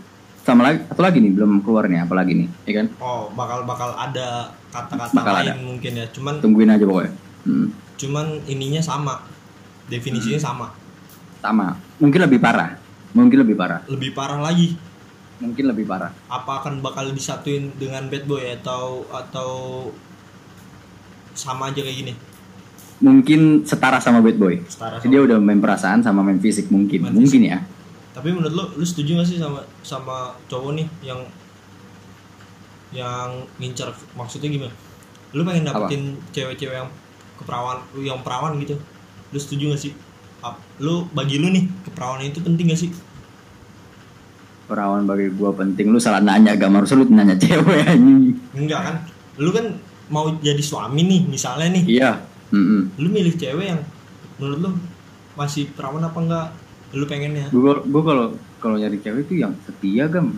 Speaker 3: sama lagi atau lagi nih belum keluar nih apalagi nih ya kan
Speaker 2: Oh, bakal bakal ada kata-kata
Speaker 3: Bakal
Speaker 2: lain
Speaker 3: ada.
Speaker 2: mungkin ya. Cuman
Speaker 3: tungguin aja pokoknya hmm,
Speaker 2: cuman ininya sama. Definisinya sama.
Speaker 3: sama mungkin lebih parah mungkin lebih parah
Speaker 2: Lebih parah lagi.
Speaker 3: mungkin lebih parah
Speaker 2: Apa akan bakal disatuin dengan bad boy atau atau sama aja kayak gini?
Speaker 3: mungkin setara sama bad boy
Speaker 2: Setara sama.
Speaker 3: dia udah main perasaan sama main fisik mungkin
Speaker 2: Main
Speaker 3: mungkin ya
Speaker 2: Tapi menurut lo, lu setuju gak sih sama sama cowok nih yang yang ngincar maksudnya gimana? Lu pengen
Speaker 3: Apa?
Speaker 2: dapetin cewek-cewek yang keperawan yang perawan gitu. Lu setuju gak sih? Ap- Lu bagi lu nih keperawanan itu penting gak sih?
Speaker 3: perawan bagi gua penting lu salah nanya gak harus lu nanya cewek anjing
Speaker 2: Enggak kan? Lu kan mau jadi suami nih misalnya nih.
Speaker 3: iya Mm-mm.
Speaker 2: Lu milih cewek yang menurut lu masih perawan apa enggak? Lu pengennya.
Speaker 3: gua gua kalau kalau nyari cewek itu yang setia gam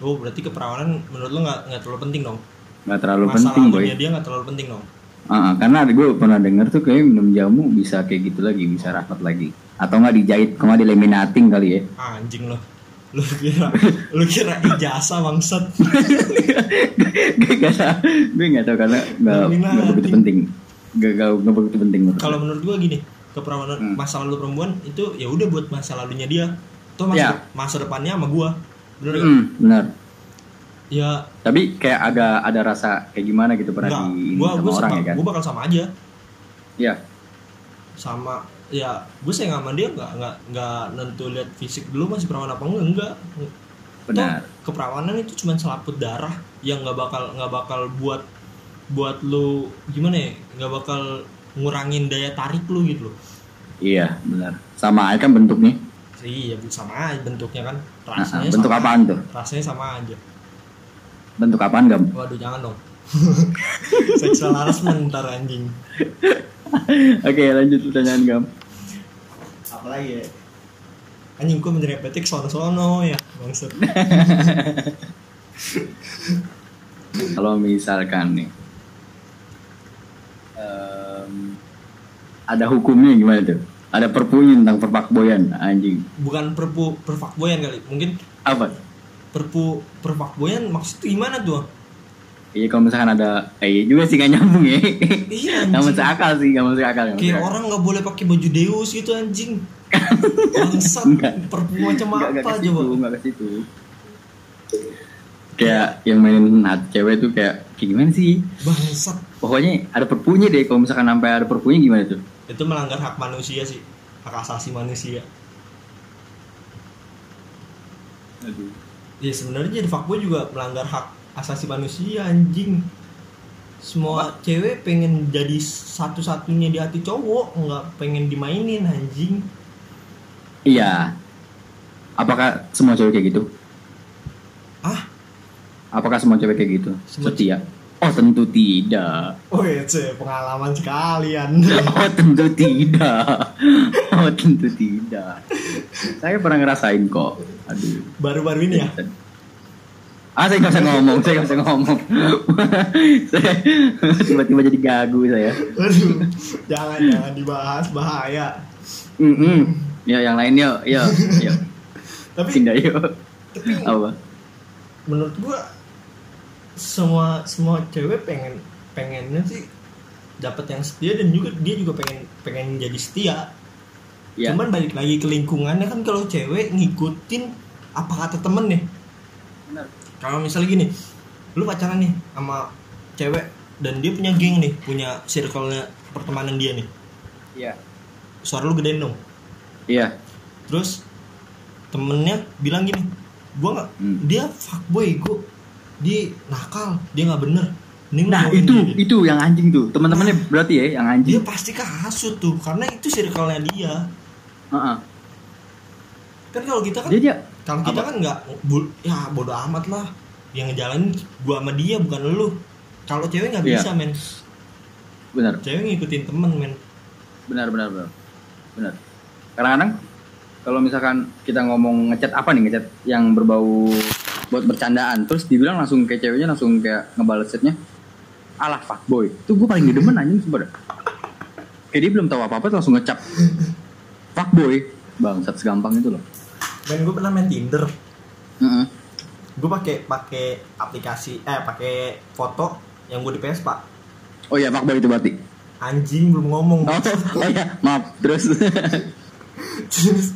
Speaker 2: Oh, berarti keperawanan menurut lu nggak nggak terlalu penting dong.
Speaker 3: nggak terlalu
Speaker 2: Masa
Speaker 3: penting boy
Speaker 2: lalunya dia nggak terlalu penting dong.
Speaker 3: Ah, ah, karena ada gue pernah denger tuh kayak minum jamu bisa kayak gitu lagi bisa rapat lagi atau nggak dijahit kalau nggak dilaminating kali ya
Speaker 2: anjing lo lu kira lu kira ijazah bangsat
Speaker 3: gue gak tau gue gak tau karena gak, gak
Speaker 2: Laminating.
Speaker 3: begitu penting gak, gak, gak begitu penting menurut
Speaker 2: kalau
Speaker 3: gue.
Speaker 2: menurut gua gini keperawanan
Speaker 3: Hmm.
Speaker 2: masa lalu perempuan itu ya udah buat masa lalunya dia atau masa,
Speaker 3: Ya.
Speaker 2: masa depannya sama gua bener nggak?
Speaker 3: Mm, benar
Speaker 2: ya
Speaker 3: tapi kayak agak ada rasa kayak gimana gitu pernah
Speaker 2: enggak
Speaker 3: di
Speaker 2: gua
Speaker 3: sama
Speaker 2: gua,
Speaker 3: orang
Speaker 2: sama-
Speaker 3: ya kan
Speaker 2: gua bakal sama aja
Speaker 3: iya
Speaker 2: sama ya gua sayang sama dia nggak nggak nggak nentu lihat fisik dulu masih perawan apa enggak enggak
Speaker 3: benar
Speaker 2: Toh, keperawanan itu cuma selaput darah yang nggak bakal nggak bakal buat buat lu gimana ya nggak bakal ngurangin daya tarik lu gitu loh
Speaker 3: iya benar sama aja kan bentuknya
Speaker 2: Iya, sama aja bentuknya kan.
Speaker 3: Nah,
Speaker 2: Rasanya
Speaker 3: bentuk
Speaker 2: sama,
Speaker 3: apaan tuh
Speaker 2: Rasanya sama aja.
Speaker 3: bentuk apaan gam
Speaker 2: Waduh, jangan dong. Seksual harassment ntar anjing.
Speaker 3: oke lanjut pertanyaan gam
Speaker 2: Apalagi ya? Anjing gua menyerempet sono-sono ya, maksud.
Speaker 3: kalau misalkan nih em, ada hukumnya gimana tuh ada perpunya tentang perpakboyan anjing
Speaker 2: Bukan perpu perfakboyan kali. Mungkin
Speaker 3: apa
Speaker 2: perpu perfakboyan maksudnya gimana tuh?
Speaker 3: iya kalau misalkan ada eh iya juga sih gak nyambung ya
Speaker 2: Iya
Speaker 3: gak
Speaker 2: anjing.
Speaker 3: masuk akal sih gak masuk akal gak masuk
Speaker 2: Kayak
Speaker 3: akal.
Speaker 2: orang nggak boleh pakai baju Deus gitu anjing. Bangsat,
Speaker 3: Enggak.
Speaker 2: perpu macam
Speaker 3: Nggak- gitu. nggak
Speaker 2: apa
Speaker 3: ke situ,
Speaker 2: coba?
Speaker 3: nggak ke situ. kayak yang mainin hati cewek tuh kayak kayak gimana sih
Speaker 2: Bangsat.
Speaker 3: pokoknya ada perpunya deh kalau misalkan sampai ada perpunya gimana tuh
Speaker 2: Itu melanggar hak manusia sih. Hak asasi manusia.
Speaker 3: Aduh.
Speaker 2: ya sebenarnya jadi fuckboy juga melanggar hak asasi manusia anjing semua cewek pengen jadi satu-satunya di hati cowok nggak pengen dimainin anjing
Speaker 3: iya apakah semua cewek kayak gitu
Speaker 2: ah
Speaker 3: Apakah semua cewek kayak gitu?
Speaker 2: Semua
Speaker 3: Setia? Oh tentu tidak.
Speaker 2: oh ya cewek, pengalaman sekalian
Speaker 3: Oh tentu tidak. Oh tentu tidak. Saya pernah ngerasain kok. Aduh.
Speaker 2: baru-baru ini ya
Speaker 3: Ah saya nggak bisa ngomong, saya nggak bisa ngomong. saya tiba-tiba jadi gagu saya.
Speaker 2: aduh jangan jangan dibahas bahaya
Speaker 3: Mm-mm. Ya yang lain yuk, yuk, yuk.
Speaker 2: tapi
Speaker 3: Pindah yuk.
Speaker 2: tapi
Speaker 3: Apa?
Speaker 2: menurut gua semua semua cewek pengen pengennya sih dapat yang setia dan juga dia juga pengen pengen jadi setia
Speaker 3: Ya.
Speaker 2: Cuman balik lagi ke lingkungannya kan kalau cewek ngikutin apa kata temen nih.
Speaker 3: Benar.
Speaker 2: Kalau misalnya gini, lu pacaran nih sama cewek dan dia punya geng nih, punya circle-nya pertemanan dia nih.
Speaker 3: Iya.
Speaker 2: Suara lu gedein dong.
Speaker 3: Iya.
Speaker 2: Terus temennya bilang gini, gua nggak,
Speaker 3: Hmm.
Speaker 2: dia fuckboy, gua dia nakal dia nggak bener Mending lu
Speaker 3: Nah
Speaker 2: jauhin
Speaker 3: itu
Speaker 2: dia.
Speaker 3: itu yang anjing tuh teman-temannya berarti ya yang
Speaker 2: dia
Speaker 3: anjing.
Speaker 2: pasti kehasut tuh karena itu circle-nya dia
Speaker 3: Heeh.
Speaker 2: kan kalau kita kan
Speaker 3: Dia dia
Speaker 2: kalau kita
Speaker 3: Apa?
Speaker 2: kan nggak bu- ya bodo amat lah yang ngejalanin gua sama dia bukan lu kalau cewek nggak
Speaker 3: Iya.
Speaker 2: bisa men
Speaker 3: benar
Speaker 2: cewek ngikutin temen men
Speaker 3: benar benar benar benar. Kadang-kadang kalau misalkan kita ngomong ngechat apa nih ngechat yang berbau buat bercandaan terus dibilang langsung kayak ceweknya langsung kayak ngebales chatnya alah fuckboy itu gue paling gak demen anjing sebenernya kayak dia belum tahu apa apa langsung ngecap fuckboy bangsat segampang itu loh
Speaker 2: men gue pernah main tinder
Speaker 3: Heeh.
Speaker 2: gue pakai pakai aplikasi eh pakai foto yang gue di Vespa
Speaker 3: oh iya fuckboy itu berarti
Speaker 2: anjing belum ngomong
Speaker 3: oh, oh iya maaf terus
Speaker 2: Terus,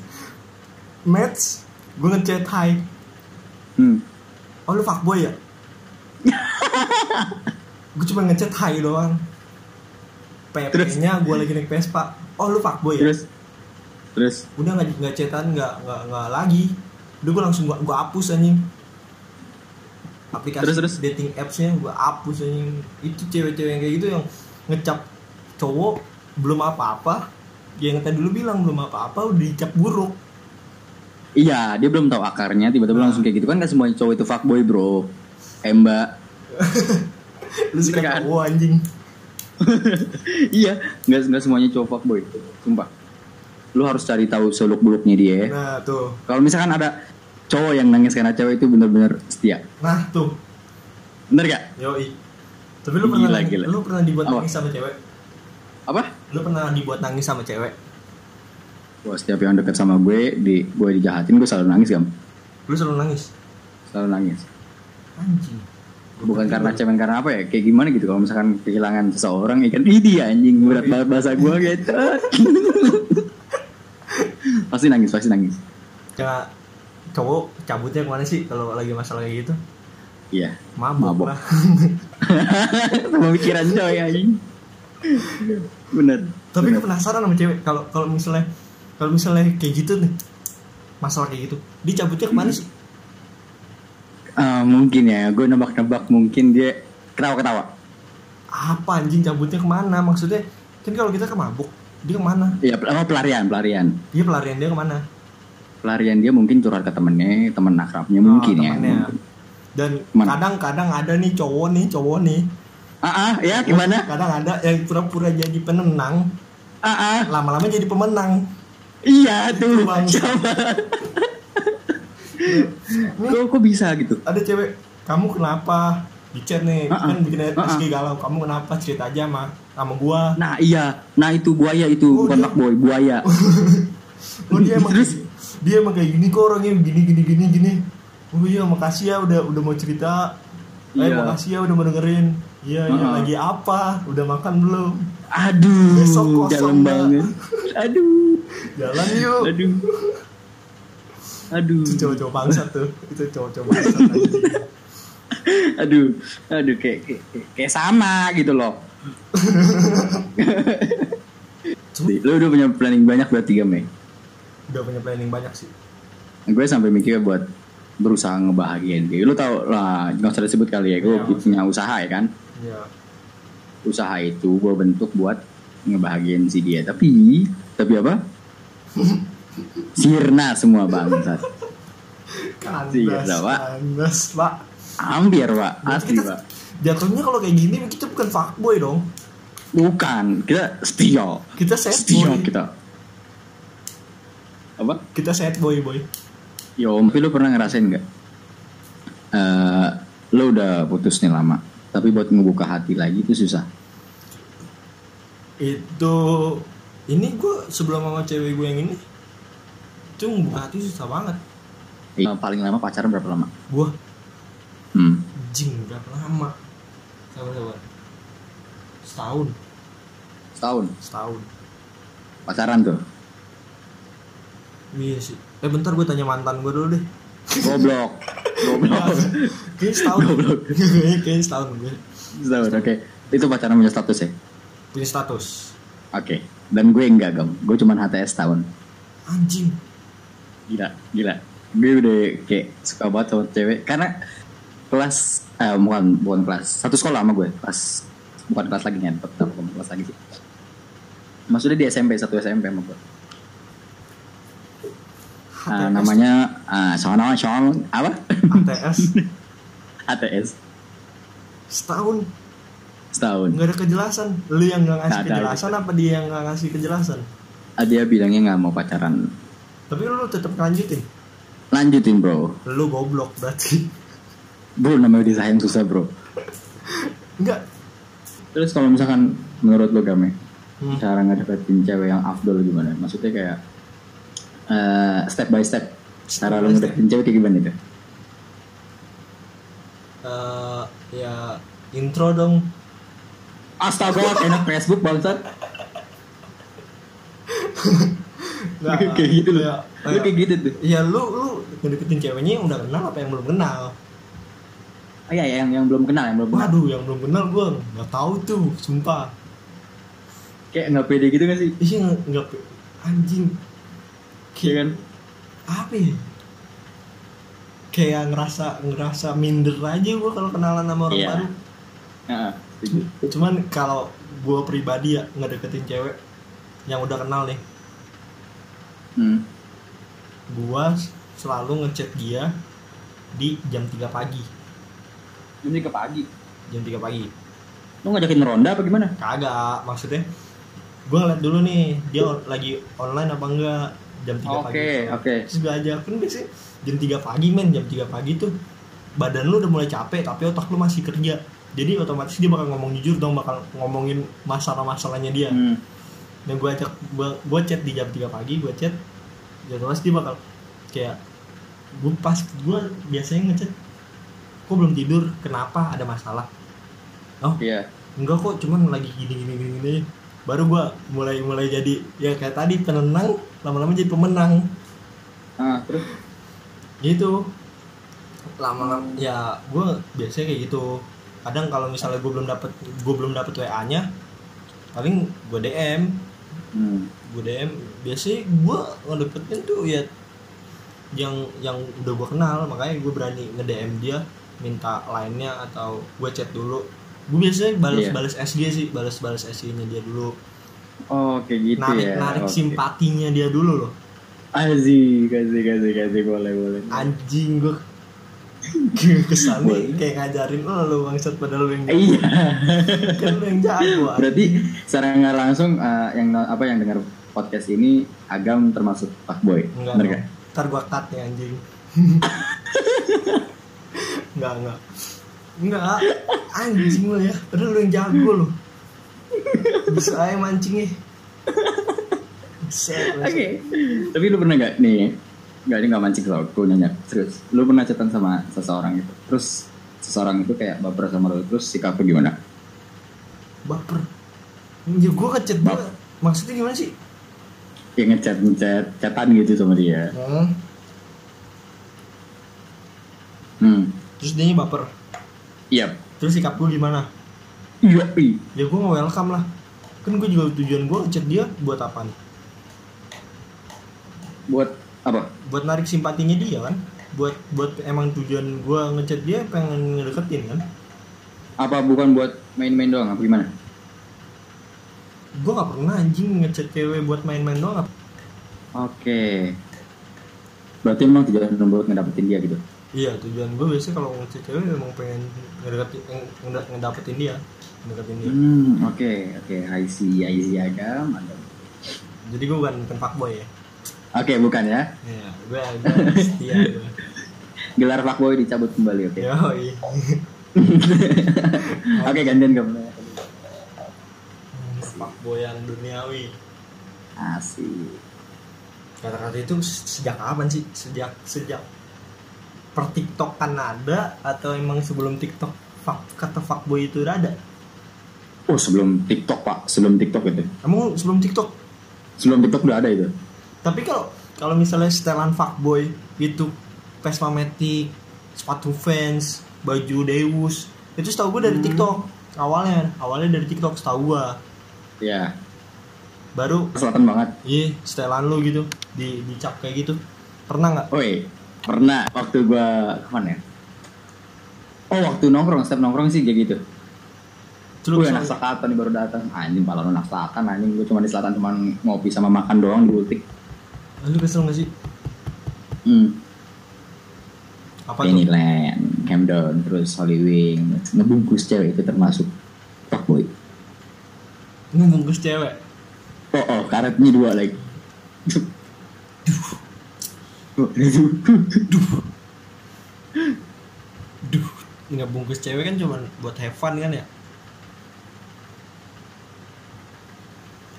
Speaker 2: match gue ngechat hai
Speaker 3: hmm.
Speaker 2: oh lu fuckboy ya gue cuma ngechat hai doang
Speaker 3: Terus?
Speaker 2: PP-nya gue lagi naik Vespa oh lu fuckboy ya
Speaker 3: terus terus
Speaker 2: udah nggak nggak chatan nggak nggak nggak lagi udah gue langsung gua, gua hapus anjing aplikasi
Speaker 3: Terus, terus.
Speaker 2: dating appsnya gua hapus anjing itu cewek-cewek yang kayak gitu yang ngecap cowok belum apa-apa yang tadi dulu bilang belum apa-apa udah dicap buruk
Speaker 3: iya dia belum tahu akarnya tiba-tiba langsung kayak gitu kan gak semua cowok itu fuckboy bro Eh, emba
Speaker 2: lu suka
Speaker 3: Bener kan?
Speaker 2: cowok anjing
Speaker 3: iya nggak nggak semuanya cowok fuckboy sumpah lu harus cari tahu seluk beluknya dia ya.
Speaker 2: nah tuh
Speaker 3: kalau misalkan ada cowok yang nangis karena cewek itu bener-bener setia
Speaker 2: nah tuh
Speaker 3: bener gak
Speaker 2: yoi tapi lu
Speaker 3: Gila,
Speaker 2: pernah
Speaker 3: gila.
Speaker 2: lu pernah dibuat
Speaker 3: Apa?
Speaker 2: nangis sama cewek
Speaker 3: apa
Speaker 2: lu pernah dibuat nangis sama cewek
Speaker 3: Wah, setiap yang deket sama gue di gue dijahatin gue selalu nangis gam
Speaker 2: lu selalu nangis
Speaker 3: selalu nangis
Speaker 2: anjing
Speaker 3: bukan karena cemen karena apa ya kayak gimana gitu kalau misalkan kehilangan seseorang ikan ini anjing berat banget bahasa gua gitu pasti nangis pasti nangis
Speaker 2: ya cowok cabutnya kemana sih kalau lagi masalah kayak gitu
Speaker 3: iya
Speaker 2: mabuk,
Speaker 3: Mabok.
Speaker 2: lah
Speaker 3: sama pikiran coy anjing bener
Speaker 2: tapi gue
Speaker 3: bener.
Speaker 2: penasaran sama cewek kalau kalau misalnya kalau misalnya kayak gitu nih masalah kayak gitu dia cabutnya kemana sih
Speaker 3: Ah, mungkin ya gue nebak-nebak mungkin dia ketawa-ketawa
Speaker 2: apa anjing cabutnya kemana maksudnya kan kalau kita ke mabuk dia kemana
Speaker 3: ya pel- apa pelarian pelarian
Speaker 2: dia pelarian dia kemana
Speaker 3: pelarian dia mungkin curhat ke temennya temen akrabnya
Speaker 2: Oh,
Speaker 3: mungkin ya
Speaker 2: temannya. dan
Speaker 3: Kemana?
Speaker 2: kadang-kadang ada nih cowok nih cowok nih
Speaker 3: ah ah ya gimana
Speaker 2: kadang ada yang pura-pura jadi penenang
Speaker 3: ah ah
Speaker 2: lama-lama jadi pemenang
Speaker 3: iya tuh
Speaker 2: Bangsa.
Speaker 3: coba kok kok bisa gitu
Speaker 2: ada cewek kamu kenapa di chat nih
Speaker 3: Heeh.
Speaker 2: kan bikin
Speaker 3: Heeh.
Speaker 2: SG galau kamu kenapa cerita aja sama sama gua
Speaker 3: Nah iya, nah itu buaya itu
Speaker 2: Oh,
Speaker 3: bukan
Speaker 2: dia-
Speaker 3: fuckboy, buaya.
Speaker 2: oh dia emang kayak-
Speaker 3: Terus?
Speaker 2: dia emang kayak gini kok orangnya gini gini gini gini oh iya makasih ya udah udah mau cerita eh
Speaker 3: Iya.
Speaker 2: makasih ya udah mau dengerin iya iya
Speaker 3: Heeh.
Speaker 2: lagi apa udah makan belum Besok
Speaker 3: Aduh,
Speaker 2: kosong,
Speaker 3: dalam
Speaker 2: Mbak.
Speaker 3: banget. Aduh,
Speaker 2: jalan yuk
Speaker 3: aduh, aduh,
Speaker 2: itu cowok-cowok bangsat tuh itu cowok-cowok bangsat anjing.
Speaker 3: aduh, aduh, kayak kayak, kayak sama gitu loh. Lu udah punya planning banyak buat tiga Mei.
Speaker 2: udah punya planning banyak sih
Speaker 3: Gue sampai mikir buat berusaha ngebahagiain dia. Lu tau lah, nggak usah disebut kali ya. Gue
Speaker 2: Iya.
Speaker 3: punya usaha ya kan.
Speaker 2: ya
Speaker 3: usaha itu gue bentuk buat ngebahagiain si dia tapi tapi apa sirna semua bangsat
Speaker 2: kandas
Speaker 3: Iya, Pak.
Speaker 2: kandas pak
Speaker 3: hampir pak asli
Speaker 2: kita-
Speaker 3: pak
Speaker 2: jatuhnya kalau kayak gini kita bukan fuckboy dong
Speaker 3: bukan kita setia
Speaker 2: kita sad
Speaker 3: setia
Speaker 2: boy kita.
Speaker 3: kita apa
Speaker 2: sad boy boy
Speaker 3: yo tapi lu pernah ngerasain nggak Eh, lu udah putus nih lama tapi buat ngebuka hati lagi itu susah
Speaker 2: itu ini gue sebelum sama cewek gue yang ini itu buka hati susah banget
Speaker 3: Eh, paling lama pacaran berapa lama
Speaker 2: gue
Speaker 3: hmm.
Speaker 2: jing berapa lama sabar sabar setahun
Speaker 3: setahun
Speaker 2: setahun
Speaker 3: pacaran tuh
Speaker 2: iya sih eh bentar gue tanya mantan gue dulu deh
Speaker 3: goblok goblok
Speaker 2: kayaknya setahun
Speaker 3: goblok
Speaker 2: Kayaknya- kayaknya setahun gue
Speaker 3: Setahun, oke. Itu pacaran punya status ya? Oke.
Speaker 2: punya status
Speaker 3: Dan gue enggak, Gam. Gue cuman HTS tahun.
Speaker 2: anjing
Speaker 3: Gila, gila. Gue udah kayak suka banget sama cewek. Karena kelas eh bukan bukan kelas satu sekolah sama gue kelas bukan kelas lagi ngentot tapi bukan kelas lagi sih maksudnya di SMP satu SMP sama gue Ah, namanya ah Sono Song apa
Speaker 2: ATS
Speaker 3: ATS
Speaker 2: setahun
Speaker 3: setahun
Speaker 2: nggak ada kejelasan lu yang nggak ngasih
Speaker 3: Nggak ada. gitu.
Speaker 2: kejelasan apa dia yang nggak ngasih kejelasan
Speaker 3: Ah, dia bilangnya nggak mau pacaran
Speaker 2: tapi lu tetap lanjutin
Speaker 3: lanjutin bro
Speaker 2: lu goblok berarti
Speaker 3: bro namanya disayang susah bro
Speaker 2: enggak
Speaker 3: terus kalau misalkan menurut lo game
Speaker 2: Hmm.
Speaker 3: cara ngedeketin cewek yang afdol gimana maksudnya kayak eh, step by step
Speaker 2: Step
Speaker 3: cara lo
Speaker 2: by
Speaker 3: ngedeketin cewek kayak gimana itu
Speaker 2: Eh, ya intro dong
Speaker 3: astaga enak Facebook bangsat
Speaker 2: Nggak,
Speaker 3: kayak gitu lo
Speaker 2: ya,
Speaker 3: lo
Speaker 2: ya.
Speaker 3: kayak gitu tuh
Speaker 2: ya lu lu ngedeketin ceweknya yang udah kenal apa yang belum kenal
Speaker 3: oh iya iya, yang yang belum kenal yang belum kenal
Speaker 2: waduh yang belum kenal gua nggak tahu tuh sumpah
Speaker 3: kayak nggak pede gitu gak sih
Speaker 2: iya nggak- nggak pe- anjing
Speaker 3: Iya kan
Speaker 2: apa ya kayak ngerasa ngerasa minder aja gua kalau kenalan sama orang
Speaker 3: Iya.
Speaker 2: baru
Speaker 3: Heeh, gitu. setuju.
Speaker 2: Ya, cuman kalau gua pribadi ya ngedeketin cewek yang udah kenal nih
Speaker 3: hmm.
Speaker 2: gua selalu ngechat dia di jam 3 pagi
Speaker 3: ini ke pagi
Speaker 2: jam 3 pagi
Speaker 3: lo ngajakin ronda apa gimana
Speaker 2: kagak maksudnya gue ngeliat dulu nih dia on- lagi online apa enggak jam 3 Oh, pagi
Speaker 3: oke oke
Speaker 2: terus gue ajakin biasanya jam 3 pagi men jam 3 pagi tuh badan lu udah mulai capek tapi otak lu masih kerja jadi otomatis dia bakal ngomong jujur dong bakal ngomongin masalah-masalahnya dia
Speaker 3: Hmm.
Speaker 2: dan gue ajak gue gue chat di jam 3 pagi gue chat ya otomatis dia bakal kayak gue pas gue biasanya ngechat kok belum tidur kenapa ada masalah
Speaker 3: iya
Speaker 2: enggak kok cuman lagi gini gini gini, gini. baru gua mulai mulai jadi ya kayak tadi penenang lama-lama jadi pemenang
Speaker 3: Ah, terus
Speaker 2: gitu lama-lama ya gua biasanya kayak gitu kadang kalau misalnya gua belum dapet gua belum dapet wa nya paling gua dm
Speaker 3: hmm.
Speaker 2: gua dm biasanya gua ngedeketin tuh ya yang yang udah gua kenal makanya gua berani nge dm dia minta lainnya atau gua chat dulu gua biasanya balas
Speaker 3: Iya.
Speaker 2: balas sg sih balas balas sg nya dia dulu
Speaker 3: Oh, kayak gitu
Speaker 2: narik
Speaker 3: ya.
Speaker 2: narik
Speaker 3: Oke.
Speaker 2: simpatinya dia dulu loh
Speaker 3: Azik, azik, azik, azik, boleh, boleh.
Speaker 2: anjing gue kesannya kayak ngajarin lo lo bangsat padahal lo yang
Speaker 3: Iya.
Speaker 2: kan lo yang jago anjing.
Speaker 3: Berarti secara nggak langsung eh, yang apa yang dengar podcast ini Agam termasuk Pak Boy.
Speaker 2: enggak
Speaker 3: Bener
Speaker 2: dong.
Speaker 3: nggak?
Speaker 2: ntar gue cut nih anjing enggak enggak enggak anjing lo ya padahal lo yang jago lo bisa aja ya. mancingnya Set, bangsat.
Speaker 3: Tapi lu pernah nggak nih? Nggak ini nggak mancing loh. Gue nanya serius. Lu pernah chatan sama seseorang itu? Terus seseorang itu kayak baper sama lu terus sikap lu gimana?
Speaker 2: baper ya gue kecet
Speaker 3: Bap-
Speaker 2: banget maksudnya gimana sih
Speaker 3: Kayak ngechat ngechat chatan gitu sama dia.
Speaker 2: Hmm,
Speaker 3: Hmm.
Speaker 2: terus dia baper
Speaker 3: Iya.
Speaker 2: terus sikap gue gimana
Speaker 3: Iya. ih.
Speaker 2: ya gue welcome lah kan gue juga tujuan gue ngechat dia buat apaan
Speaker 3: Buat apa?
Speaker 2: buat narik simpatinya dia kan buat buat emang tujuan gue ngechat dia pengen ngedeketin kan
Speaker 3: Apa bukan buat main-main doang? Apa gimana?
Speaker 2: gue gak pernah anjing ngechat cewek buat main-main doang
Speaker 3: Oke. Berarti emang tujuan lu buat ngedapetin dia gitu.
Speaker 2: iya tujuan gue biasanya kalau ngechat cewek emang pengen ngedeketin eh, ngeda- ngedapetin dia ngedeketin dia
Speaker 3: Hmm, oke, oke. I see, I see Agam. Agam.
Speaker 2: jadi gue bukan bukan fuckboy ya
Speaker 3: Oke, bukan ya.
Speaker 2: iya gue gue setia gue
Speaker 3: Gelar fuckboy dicabut kembali, oke.
Speaker 2: yoi
Speaker 3: oke, gantian gam.
Speaker 2: fuckboyan duniawi
Speaker 3: Asik.
Speaker 2: kata-kata itu sejak kapan sih sejak sejak per TikTokan ada atau emang sebelum TikTok fuck, kata fuckboy itu udah ada
Speaker 3: Oh, sebelum TikTok, Pak. Sebelum TikTok itu.
Speaker 2: emang sebelum TikTok
Speaker 3: Sebelum TikTok udah ada itu.
Speaker 2: tapi kalau kalau misalnya setelan fuckboy itu Vespa Matic sepatu fans baju Deus itu setahu gue dari
Speaker 3: Hmm.
Speaker 2: TikTok awalnya awalnya dari TikTok setahu gue
Speaker 3: Ya,
Speaker 2: baru
Speaker 3: selatan banget.
Speaker 2: iya setelan lu gitu di dicap kayak gitu pernah nggak
Speaker 3: Oi, pernah waktu gua kemana ya? oh waktu nongkrong setiap nongkrong sih kayak gitu
Speaker 2: Terus
Speaker 3: Gue anak selatan nih baru datang Anjing pala lu anak selatan anjing Gue cuma di selatan cuma ngopi sama makan doang di butik
Speaker 2: lu kesel gak sih?
Speaker 3: hmm.
Speaker 2: Apa
Speaker 3: Ini
Speaker 2: tuh?
Speaker 3: Land, Camden, terus Hollywood Ngebungkus cewek itu termasuk Fuckboy
Speaker 2: Ngebungkus cewek.
Speaker 3: Oh, oh karetnya dua lagi Duh. Duh. Duh.
Speaker 2: Duh, ngebungkus cewek kan cuma buat have fun kan ya?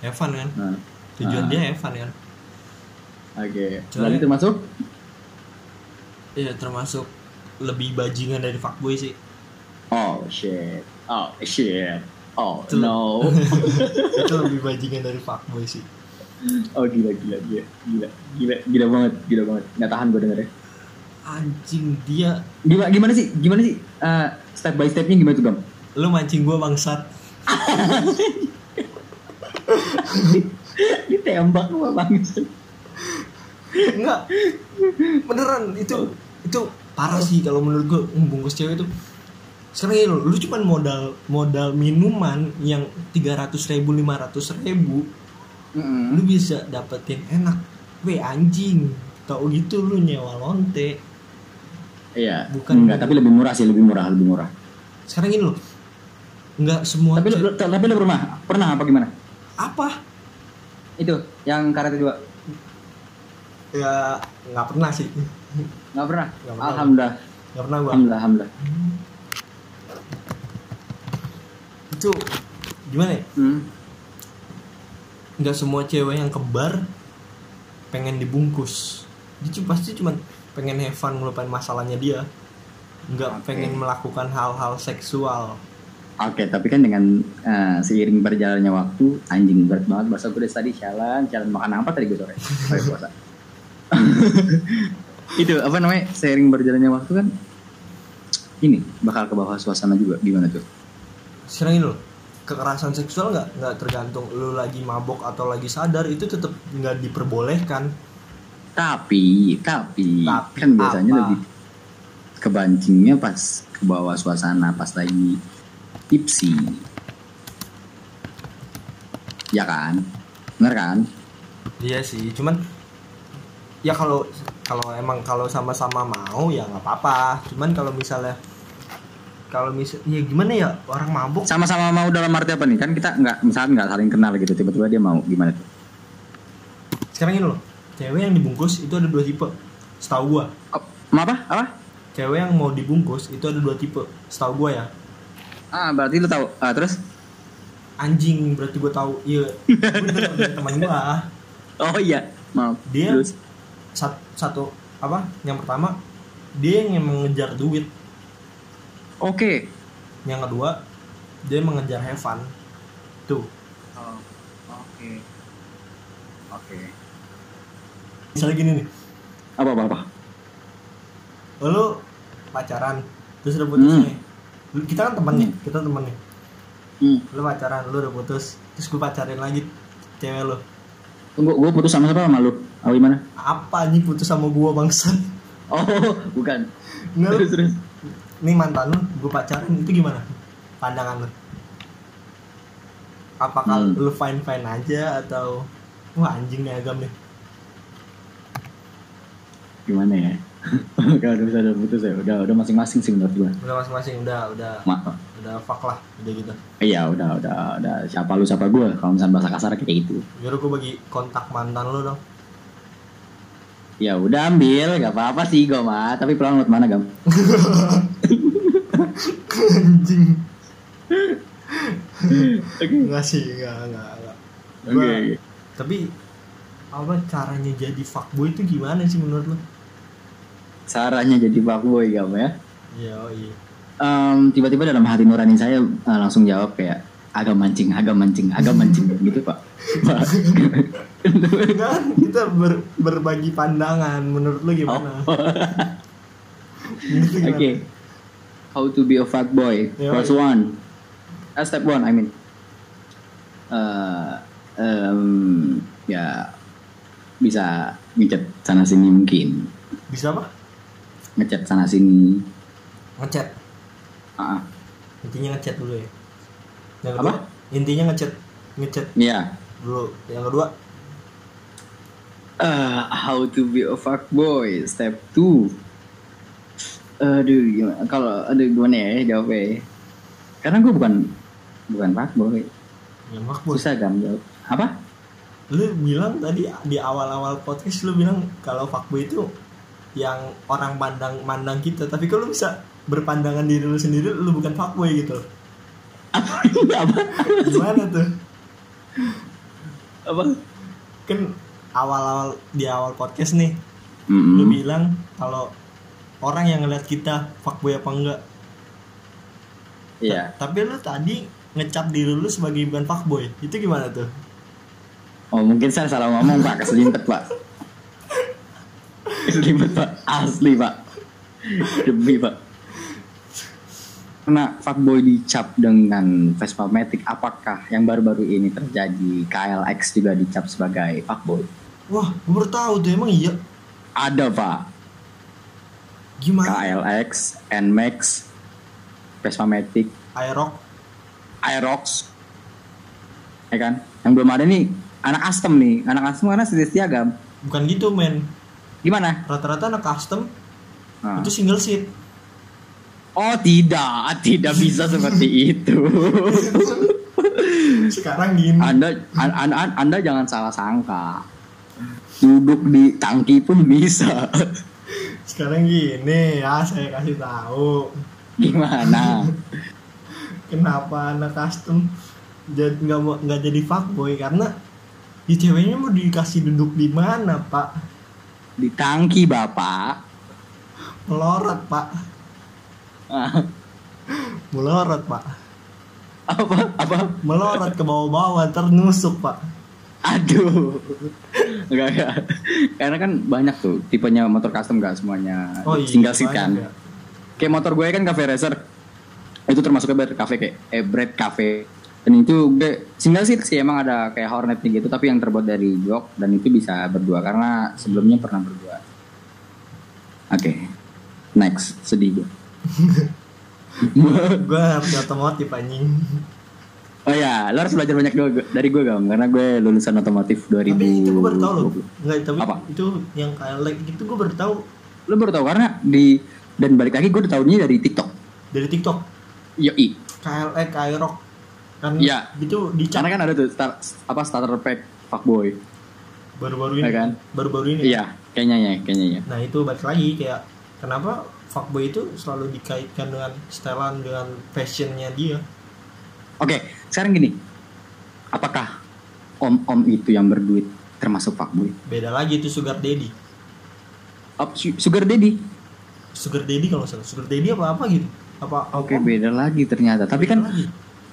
Speaker 2: Have fun kan?
Speaker 3: Nah,
Speaker 2: Tujuan
Speaker 3: Ah.
Speaker 2: dia have fun kan?
Speaker 3: Oke,
Speaker 2: Cewek.
Speaker 3: lalu termasuk
Speaker 2: Iya, termasuk lebih bajingan dari fuckboy sih.
Speaker 3: Oh shit, oh shit, oh
Speaker 2: Itu-
Speaker 3: no
Speaker 2: Itu lebih bajingan dari fuckboy sih.
Speaker 3: Oh gila, gila, gila, gila, gila, gila banget, gila banget Gak tahan gue dengernya
Speaker 2: Anjing dia,
Speaker 3: gimana gimana sih gimana sih Eh, step by stepnya gimana tuh gam
Speaker 2: lu mancing gua bangsat.
Speaker 3: ditembak lu banget
Speaker 2: Enggak. Beneran itu itu parah sih kalau menurut gua ngebungkus cewek itu sekarang ya lu, lu cuman modal modal minuman yang 300 ribu 500 ribu lu bisa dapetin enak weh anjing tau gitu lu nyewa lonte
Speaker 3: iya
Speaker 2: Bukan.
Speaker 3: enggak tapi lebih murah sih lebih murah lebih murah
Speaker 2: sekarang gini loh nggak semua
Speaker 3: tapi lu,
Speaker 2: cewek-
Speaker 3: lu- tapi lu pernah pernah apa gimana
Speaker 2: apa
Speaker 3: itu yang karate dua
Speaker 2: ya nggak pernah sih
Speaker 3: nggak pernah
Speaker 2: Nggak pernah.
Speaker 3: alhamdulillah
Speaker 2: nggak pernah gua
Speaker 3: alhamdulillah alhamdulillah
Speaker 2: itu gimana ya
Speaker 3: hmm.
Speaker 2: nggak semua cewek yang kebar pengen dibungkus dia cu- pasti cuman pengen have fun ngelupain masalahnya dia nggak
Speaker 3: Oke.
Speaker 2: pengen melakukan hal-hal seksual
Speaker 3: oke tapi kan dengan eh, seiring berjalannya waktu anjing berat banget bahasa gue dari tadi jalan jalan makan apa tadi gue sore sore puasa itu apa namanya seiring berjalannya waktu kan ini bakal ke bawah suasana juga gimana tuh
Speaker 2: sekarang ini loh kekerasan seksual nggak nggak tergantung lu lagi mabok atau lagi sadar itu tetap nggak diperbolehkan
Speaker 3: Tapi, tapi,
Speaker 2: Tapi
Speaker 3: kan biasanya
Speaker 2: apa?
Speaker 3: lebih kebancingnya pas ke bawah suasana pas lagi tipsi. Ya kan? Bener kan?
Speaker 2: iya sih cuman ya kalau kalau emang kalau sama-sama mau ya nggak apa-apa cuman kalau misalnya kalau misal ya gimana ya orang mabuk
Speaker 3: Sama-sama mau dalam arti apa nih? Kan kita nggak misalkan nggak saling kenal gitu, tiba-tiba dia mau gimana tuh?
Speaker 2: sekarang ini loh cewek yang dibungkus itu ada dua tipe setahu gua
Speaker 3: Op, Oh, mau apa? Apa?
Speaker 2: cewek yang mau dibungkus itu ada dua tipe setahu gua ya
Speaker 3: Ah, berarti lu tahu. Ah, terus?
Speaker 2: anjing berarti gua tahu iya bener dari teman gua
Speaker 3: Oh iya, maaf.
Speaker 2: Dia-
Speaker 3: Terus?
Speaker 2: Sat- satu apa yang pertama dia yang emang ngejar duit
Speaker 3: Oke.
Speaker 2: yang kedua dia yang mengejar have fun tuh
Speaker 3: Oke. Oke.
Speaker 2: misalnya gini nih
Speaker 3: Apa apa apa?
Speaker 2: Oh, lu pacaran terus udah putus
Speaker 3: Hmm.
Speaker 2: nih Lu- kita kan temen nih kita temen nih
Speaker 3: Hmm.
Speaker 2: lu pacaran lu udah putus terus gue pacarin lagi cewek lu
Speaker 3: Tunggu, gue putus sama siapa sama lu? Sama gimana?
Speaker 2: apa anjing putus sama gua bangsa
Speaker 3: Oh, bukan.
Speaker 2: Nggak, lu-
Speaker 3: Terus terus.
Speaker 2: nih mantan lu gue pacaran itu gimana pandangan lu apakah
Speaker 3: Hmm.
Speaker 2: lu fine fine aja atau wah anjing nih agam nih
Speaker 3: Gimana ya? Kalau udah bisa udah putus ya, udah udah masing-masing sih menurut gue.
Speaker 2: udah masing-masing udah udah
Speaker 3: Ma-
Speaker 2: udah fuck lah udah gitu
Speaker 3: iya udah udah udah siapa lu siapa gue kalau misalnya bahasa kasar kayak gitu
Speaker 2: Yaudah gue bagi kontak mantan lu dong
Speaker 3: ya udah ambil gak apa apa sih gue mah tapi pulang lewat mana gam
Speaker 2: anjing
Speaker 3: oke
Speaker 2: enggak sih enggak enggak, enggak. Gua- tapi apa caranya jadi fuckboy itu gimana sih menurut lu
Speaker 3: caranya jadi fuckboy gam ya
Speaker 2: iya oh iya
Speaker 3: Em, tiba-tiba dalam hati nurani saya eh, langsung jawab kayak agak mancing agak mancing agak mancing gitu pak Pak.
Speaker 2: kan kita ber- berbagi pandangan menurut lu gimana
Speaker 3: Oh.
Speaker 2: Menurut lu gimana?
Speaker 3: Okay. How to be a fat boy.
Speaker 2: Iya. Yeah,
Speaker 3: First
Speaker 2: yeah.
Speaker 3: one. Uh, step one, I mean. Uh, um, ya bisa ngecat sana sini mungkin.
Speaker 2: bisa apa
Speaker 3: Ngecat sana sini.
Speaker 2: ngechat
Speaker 3: Ah, ah.
Speaker 2: intinya ngechat dulu ya yang
Speaker 3: Apa?
Speaker 2: kedua intinya ngechat ngechat
Speaker 3: Iya.
Speaker 2: dulu yang kedua
Speaker 3: Eh, how to be a fuckboy step 2 Aduh gimana kalau aduh gimana ya jawabnya ya? Karena gue bukan bukan fuckboy
Speaker 2: yang makbul
Speaker 3: Susah kan jawab Apa?
Speaker 2: lu bilang tadi di awal-awal podcast lu bilang kalau fuckboy itu yang orang pandang mandang kita tapi kalau bisa berpandangan diri lu sendiri lu bukan fuckboy gitu
Speaker 3: Apa? Apa?
Speaker 2: gimana tuh
Speaker 3: Apa?
Speaker 2: kan awal-awal di awal podcast nih lu
Speaker 3: Mm-mm.
Speaker 2: bilang kalau orang yang ngeliat kita fuckboy apa enggak
Speaker 3: Iya
Speaker 2: tapi lu tadi ngecap diri lu sebagai bukan fuckboy itu gimana tuh
Speaker 3: Oh mungkin saya salah ngomong pak Keselimpet pak Keselimpet pak Asli pak Demi pak Karena fuckboy dicap dengan Vespa Matic Apakah yang baru-baru ini terjadi KLX juga dicap sebagai fuckboy
Speaker 2: wah gue baru tahu tuh emang iya
Speaker 3: Ada pak
Speaker 2: gimana
Speaker 3: KLX NMAX Vespa Matic
Speaker 2: Aerox
Speaker 3: Aerox Ya kan Yang belum ada nih Anak Astem nih Anak Astem karena setia siagam
Speaker 2: bukan gitu men
Speaker 3: Gimana?
Speaker 2: rata-rata anak custom
Speaker 3: Nah.
Speaker 2: itu single seat
Speaker 3: Oh tidak, tidak bisa seperti itu.
Speaker 2: sekarang gini
Speaker 3: Anda, an- an- an- Anda jangan salah sangka. Duduk di tangki pun bisa.
Speaker 2: sekarang gini ya saya kasih tahu
Speaker 3: Gimana?
Speaker 2: kenapa anak custom jadi nggak mau nggak jadi fuckboy karena di ceweknya mau dikasih duduk di mana pak
Speaker 3: Di tangki bapak.
Speaker 2: melorot pak
Speaker 3: Ah,
Speaker 2: melorot pak
Speaker 3: Apa? Apa?
Speaker 2: melorot ke bawah-bawah ternusuk pak
Speaker 3: Aduh. Enggak enggak. Karena kan banyak tuh tipenya motor custom gak semuanya. Single seat
Speaker 2: Oh, banyak
Speaker 3: kan.
Speaker 2: ya.
Speaker 3: Kayak motor gue kan cafe racer. Itu termasuknya bread cafe kayak eh, bread cafe. Dan itu gue single seat sih emang ada kayak Hornet gitu tapi yang terbuat dari jok dan itu bisa berdua karena sebelumnya pernah berdua. Oke. Next, sedih gue.
Speaker 2: gue harus otomotif anjing
Speaker 3: oh ya, lo harus belajar banyak dulu dari gue gam karena gue lulusan otomotif 2000.
Speaker 2: tapi itu gue baru tahu loh nggak tapi
Speaker 3: Apa?
Speaker 2: itu yang E kayak itu gue gitu, baru tahu
Speaker 3: Lo baru tahu karena di dan balik lagi gue udah tahunya dari TikTok.
Speaker 2: dari tiktok E
Speaker 3: Yoi.
Speaker 2: KLE Kairok kan
Speaker 3: Iya.
Speaker 2: itu dicap
Speaker 3: Karena kan ada tuh star- apa starter pack fuckboy.
Speaker 2: baru-baru ini
Speaker 3: Iya kan?
Speaker 2: baru-baru ini
Speaker 3: Iya, kayaknya ya, kayaknya ya.
Speaker 2: nah itu balik lagi kayak kenapa fuckboy itu selalu dikaitkan dengan setelan dengan fashionnya dia
Speaker 3: Oke, sekarang gini. Apakah om-om itu yang berduit termasuk fuckboy?
Speaker 2: beda lagi itu sugar daddy
Speaker 3: Op, su- sugar daddy.
Speaker 2: sugar daddy kalau nggak salah sugar daddy apa apa gitu apa
Speaker 3: Oke,
Speaker 2: apa-
Speaker 3: beda lagi ternyata. Tapi kan
Speaker 2: lagi.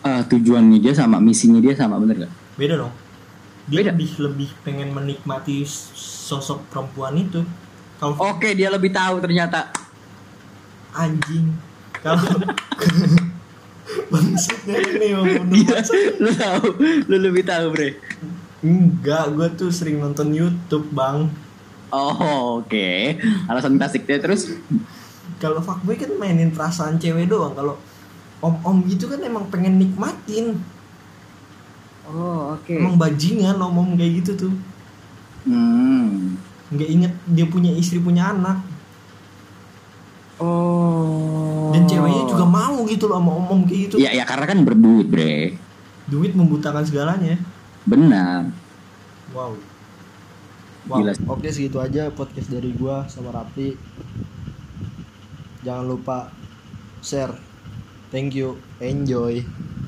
Speaker 3: eh, tujuannya dia sama, misinya dia sama, bener gak?
Speaker 2: beda dong dia
Speaker 3: Beda.
Speaker 2: lebih lebih pengen menikmati s- sosok perempuan itu kalau
Speaker 3: Oke, dia lebih tahu ternyata.
Speaker 2: anjing kalau maksudnya ini mau bunuh
Speaker 3: Gila, lu tahu, lu lebih tahu, Bre.
Speaker 2: Enggak, gue tuh sering nonton YouTube bang.
Speaker 3: Oh, oke. Alasan klasik dia terus
Speaker 2: Kalau fuckboy kan mainin perasaan cewek doang. Kalau om-om gitu kan emang pengen nikmatin.
Speaker 3: Hmm. Oh, oke.
Speaker 2: Emang bajingan om-om kayak gitu tuh.
Speaker 3: Hmm.
Speaker 2: Nggak inget dia punya istri punya anak.
Speaker 3: Oh.
Speaker 2: Dan ceweknya juga mau gitu loh sama om-om kayak gitu.
Speaker 3: Ya, ya karena kan berduit, Bre.
Speaker 2: Duit membutakan segalanya.
Speaker 3: Benar.
Speaker 2: Wow. Wow.
Speaker 3: Gila.
Speaker 2: Oke segitu aja podcast dari gua sama Rapli. Jangan lupa share. Thank you. Enjoy.